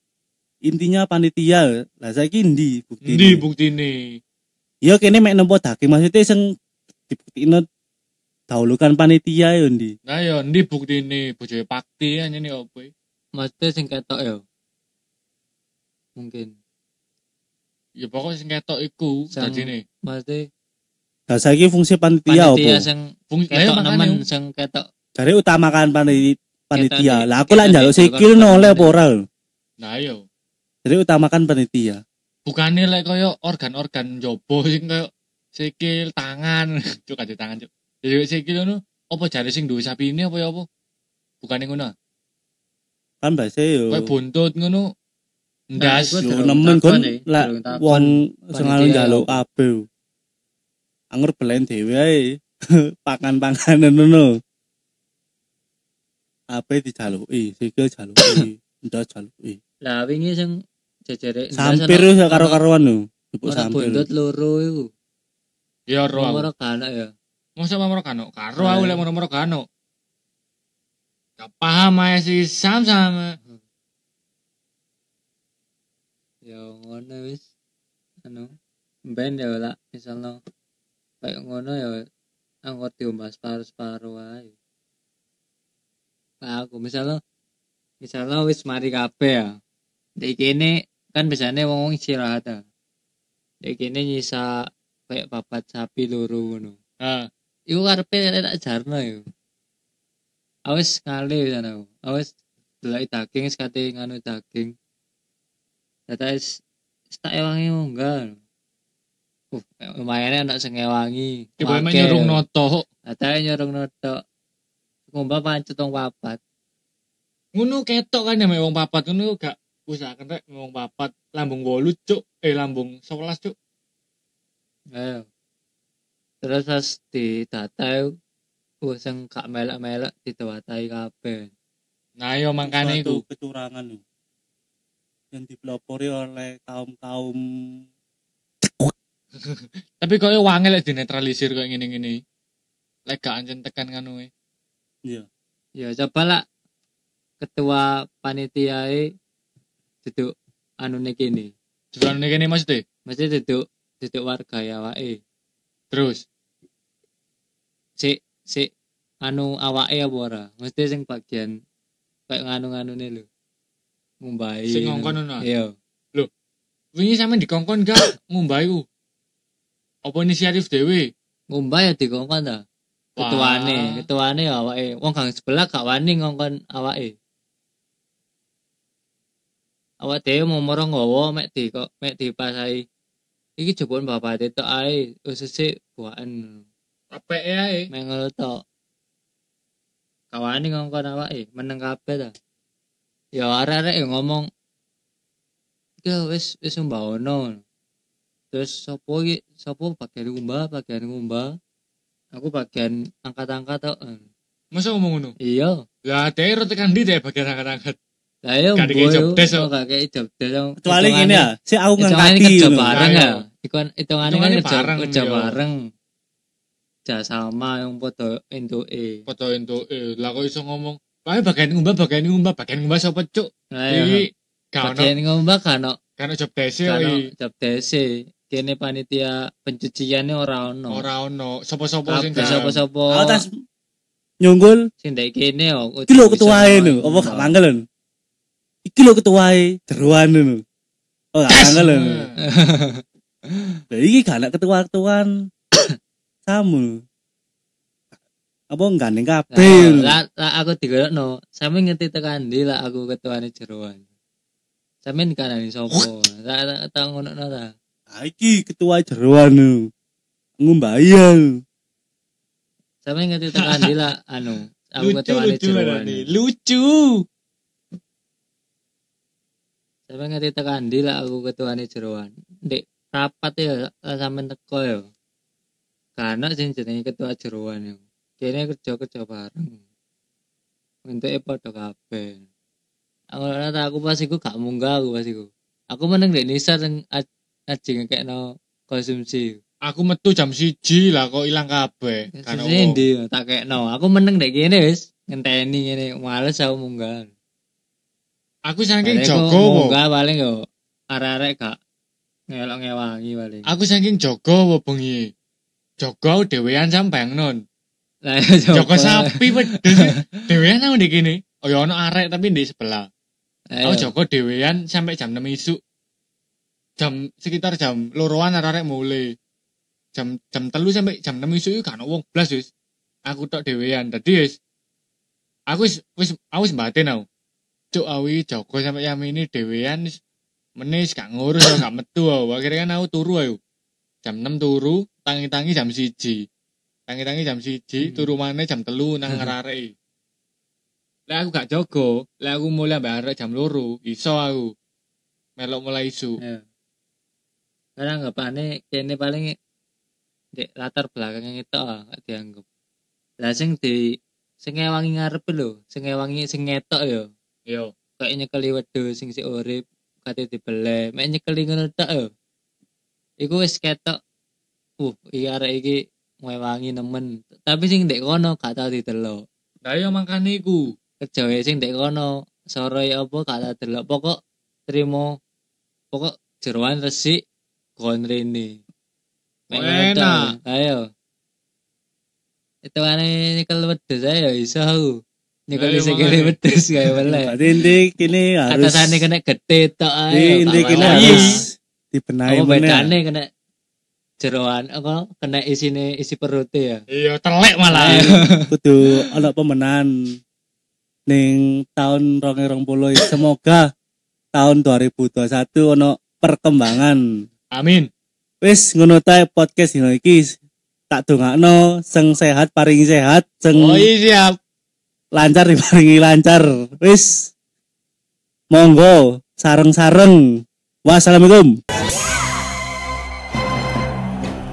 S1: Intinya panitia. Lah saiki ndi bukti?
S2: Di bukti ini.
S1: Ya kene mek nempo daging maksudnya sing dibuktikno dahulukan panitia ya ndi.
S2: Nah yo di bukti ini bojoe pakti ya ini opo?
S3: maksudnya sing ketok ya mungkin
S2: Ya pokoknya sing ketok iku
S3: Sang-
S2: dadi ne.
S3: maksudnya
S1: Lah saiki fungsi panitia
S3: panitia
S1: opo?
S3: sing
S2: Fungsi
S3: ketok
S2: makanya
S3: nemen sing ketok
S1: Dari utamakan pani- panitia.
S3: Ketok-
S1: Lah aku lah
S3: ketok
S1: njaluk
S3: itu kan
S1: sikil no oleh apa ora. lho.
S2: Nah yo.
S1: Dari utamakan panitia.
S2: Bukannya lek koyo organ-organ jobo sing koyo sikil, tangan, [LAUGHS] cuk ada tangan cuk. Jadi sikil ngono apa jari sing duwe sapi ini apa ya apa? Bukannya ngono. ah?
S1: Kan biasa yo.
S2: Kayak buntut ngono. Ndas.
S3: Nah, iku-
S1: Yo
S3: Durung
S1: nemen kon
S3: takon, eh.
S1: lek
S3: Durung takon.
S1: wong sing
S3: Panitia
S1: njaluk njaluk
S3: ya.
S1: kabeh. Angger belen dhewe ae. [LAUGHS] Pakan-panganan ngono. Ape dijaluki, sikil jaluki, ndas jaluki.
S3: lah wingi sing jejere
S1: Sampir yo karo-karuan lho. Jupuk
S3: ora
S1: sampir.
S3: buntut loro iku
S2: Ya ro aku.
S3: ora kana ya
S2: Masa moro kano? Karo
S3: Nah.
S2: aku lek moro-moro kano. Gak paham ae si Sam sama.
S3: ya ngono wis anu ben ya lah misalnya kayak ngono ya angkot diombas separuh separuh ae nah, aku misalnya misalnya wis mari kabeh ya di kene kan biasanya wong wong istirahat ya di kene nyisa kayak papat sapi loro ngono
S2: Heeh.
S3: iku karepe tak jarno yo awis kali wis ana aku awis delok daging wis kate nganu daging data wis wis tak ewangi munggah uh lumayan ana sing ewangi
S2: Tiba nyurung noto.
S3: data nyurung notok kumpah pancet wong papat
S2: Ngono ketok kan ya mek wong papat ngono gak usahakan rek mek wong papat lambung 8 cuk, eh lambung 11 cuk.
S3: ayo terus pas di data ku sing gak melek-melek ditewatai kabeh
S2: Nah yo makane iku.
S1: Suatu kecurangan lho. Yang dipelopori oleh kaum-kaum
S2: Tapi koyo wangi lek dinetralisir koyo ngene-ngene. Lek gak ancen tekan ngono e.
S3: Ya coba lah ketua panitiae duduk anu nih kini,
S2: Jurane kene Mas Teh.
S3: mesti duduk duduk warga ya wae.
S2: Terus
S3: Si si anu awake apa ora? Mesti sing bagian kayak nganu-nganu nih lho. Mumbai.
S2: sing ngongkon ngono.
S3: Iya.
S2: Wingi sampe dikongkon gak ngumbah iku. Apa inisiatif dhewe?
S3: Mumbai ya dikongkon ta.
S2: Wah.
S3: Ketuane, ketuane ya awake. Wong gang sebelah gak wani ngongkon awake. Awak dhewe mau moro nggawa mek di kok mek dipasai. Iki jebon bapake tok ae, ususe buaken.
S2: Apeke ae.
S3: Mek ngono tok. Kawani ngongkon awake, e, meneng kabeh ta. Ya arek-arek ya ngomong Ya wis wis mbawono. Terus sopo iki sopo bagian ngumbah, bagian ngumbah. Aku bagian angkat-angkat tok.
S2: Masa ngomong ngono?
S3: Iya.
S2: Lah teh rute kan di teh bagian angkat-angkat.
S3: Lah ya
S2: Gak dikei
S3: mboyo,
S2: job desk,
S3: kok
S2: oh.
S3: gak kei job desk, oh.
S1: kecuali ngene
S3: Hitungannya-
S1: ya, si aku
S3: hitungannya
S1: ngangkati.
S3: kerja
S1: lho.
S3: bareng
S2: Lah,
S3: ya.
S2: iya.
S3: Iku kan hitungannya kan
S2: Hitungannya
S3: kerja
S2: bareng,
S3: kerja
S2: iya.
S3: bareng. Kerja sama yang podo entuke.
S2: Foto itu eh lah kok iso ngomong. Pakai bagian ngumbah, bagian ngumbah, bagian ngumbah sapa cuk.
S3: Lah ya.
S2: Iki gak ono
S3: Bagian ngombak kan ono
S2: gak ono job desk
S3: kan ono
S2: iki.
S3: job desk. Kene panitia pencuciannya ora ono.
S2: Ora ono sapa-sapa sing
S3: Kabeh sapa-sapa
S1: Aku tas nyunggul
S3: sing ndek kene oh, yo.
S1: iki lho ketuae lho apa gak mangkel lho iki lho ketuae jeruan lho oh gak mangkel lho
S2: Nah,
S1: Lah, iki gak ada ketua-ketuan [COUGHS] samu apa gandeng kabeh lho.
S3: Lah lah aku digerokno. Sampe ngerti tekan ndi lah aku ketuane jeroan. Sampe dikanani sapa? Tak tak tak ngono ta.
S1: Ah, iki ketua jeruan lho ya ngumbayan
S3: Sampe ngerti tekan ndi lah anu. Aku
S2: Lucu
S3: ketuane
S2: lucu
S3: jeroan.
S2: berani. Lucu.
S3: Sampe ngerti tekan ndi lah aku ketuane jeroan. Ndek rapat ya lah sampe teko ya. Karena sing jenenge ketua jeroan ya. Kene kerja-kerja bareng. Untuk padha kabeh. Aku ora tak aku pas iku gak munggah aku pas iku. Aku meneng ndek Nisa sing ajeng ngekekno konsumsi.
S2: aku metu jam siji lah kok ilang kabeh karena
S3: Sisi
S2: wong.
S3: ndi ya, tak kekno. Aku meneng dek kene wis ngenteni ngene males aku munggah.
S2: aku saking
S3: Bareng kan.
S2: jaga wo
S3: aku Munggah paling yo arek-arek gak ngelok ngewangi paling.
S2: aku saking jaga wo bengi jaga aku dhewean sampean non
S3: Lah ya,
S2: jaga sapi pedes dhewean aku ndek kene oh ya ono arek tapi ndek sebelah aku
S3: Ayo.
S2: jaga dhewean sampai jam 6 isuk jam sekitar jam loroan arek mulai jam jam telu sampai jam 6 isuk itu kan wong blas wis aku tok dhewean dadi wis aku wis wis aku wis batin aku cuk awi jaga sampai jam ini dhewean wis menis gak ngurus aku gak metu aku akhirnya kan aku turu ayo jam 6 turu tangi-tangi jam siji tangi-tangi jam siji
S3: Hmm.
S2: turu maneh jam telu nang ngararei lah aku gak jaga lah aku mulai ambek arek jam loro iso aku melok mulai isu
S3: Iya. Karena anggapane kene paling di latar belakang itu ah gak dianggap. Lah sing di sing ngewangi ngarep lho, sing ngewangi sing ngetok yo.
S2: yo
S3: Kayak nyekeli wedo sing si urip kate dibeleh, mek nyekeli ngono tok yo. Iku wis ketok. Uh, iya arek iki ngewangi nemen. Tapi sing ndek kono gak tau didelok.
S2: lah yo makane iku
S3: kerjawe sing ndek kono sore ya apa gak tak delok pokok trimo pokok jeroan resik gon rene
S2: Oh,
S3: Mek ngono
S2: enak.
S3: tok. ayo itu ane nyekel wedhus ayo iso aku nyekel
S2: Ayo,
S3: sikile
S2: makanya.
S3: wedhus gawe weleh
S1: Berarti inti kini harus
S3: atasane kena gede tok ayo
S1: Ini inti
S3: tak
S1: kini
S3: weleh.
S1: harus dibenahi
S3: apa
S1: meneh.
S3: bedane kena jeroan apa kena isine isi perut ya
S2: iya telek malah
S1: kudu ana pemenan ning tahun 2020 iki. semoga tahun 2021 ono perkembangan
S2: amin
S1: wis ngono tae podcast dino iki tak dongakno sing sehat paringi sehat sing
S2: oh iya siap
S1: lancar diparingi lancar wis monggo sareng-sareng wassalamualaikum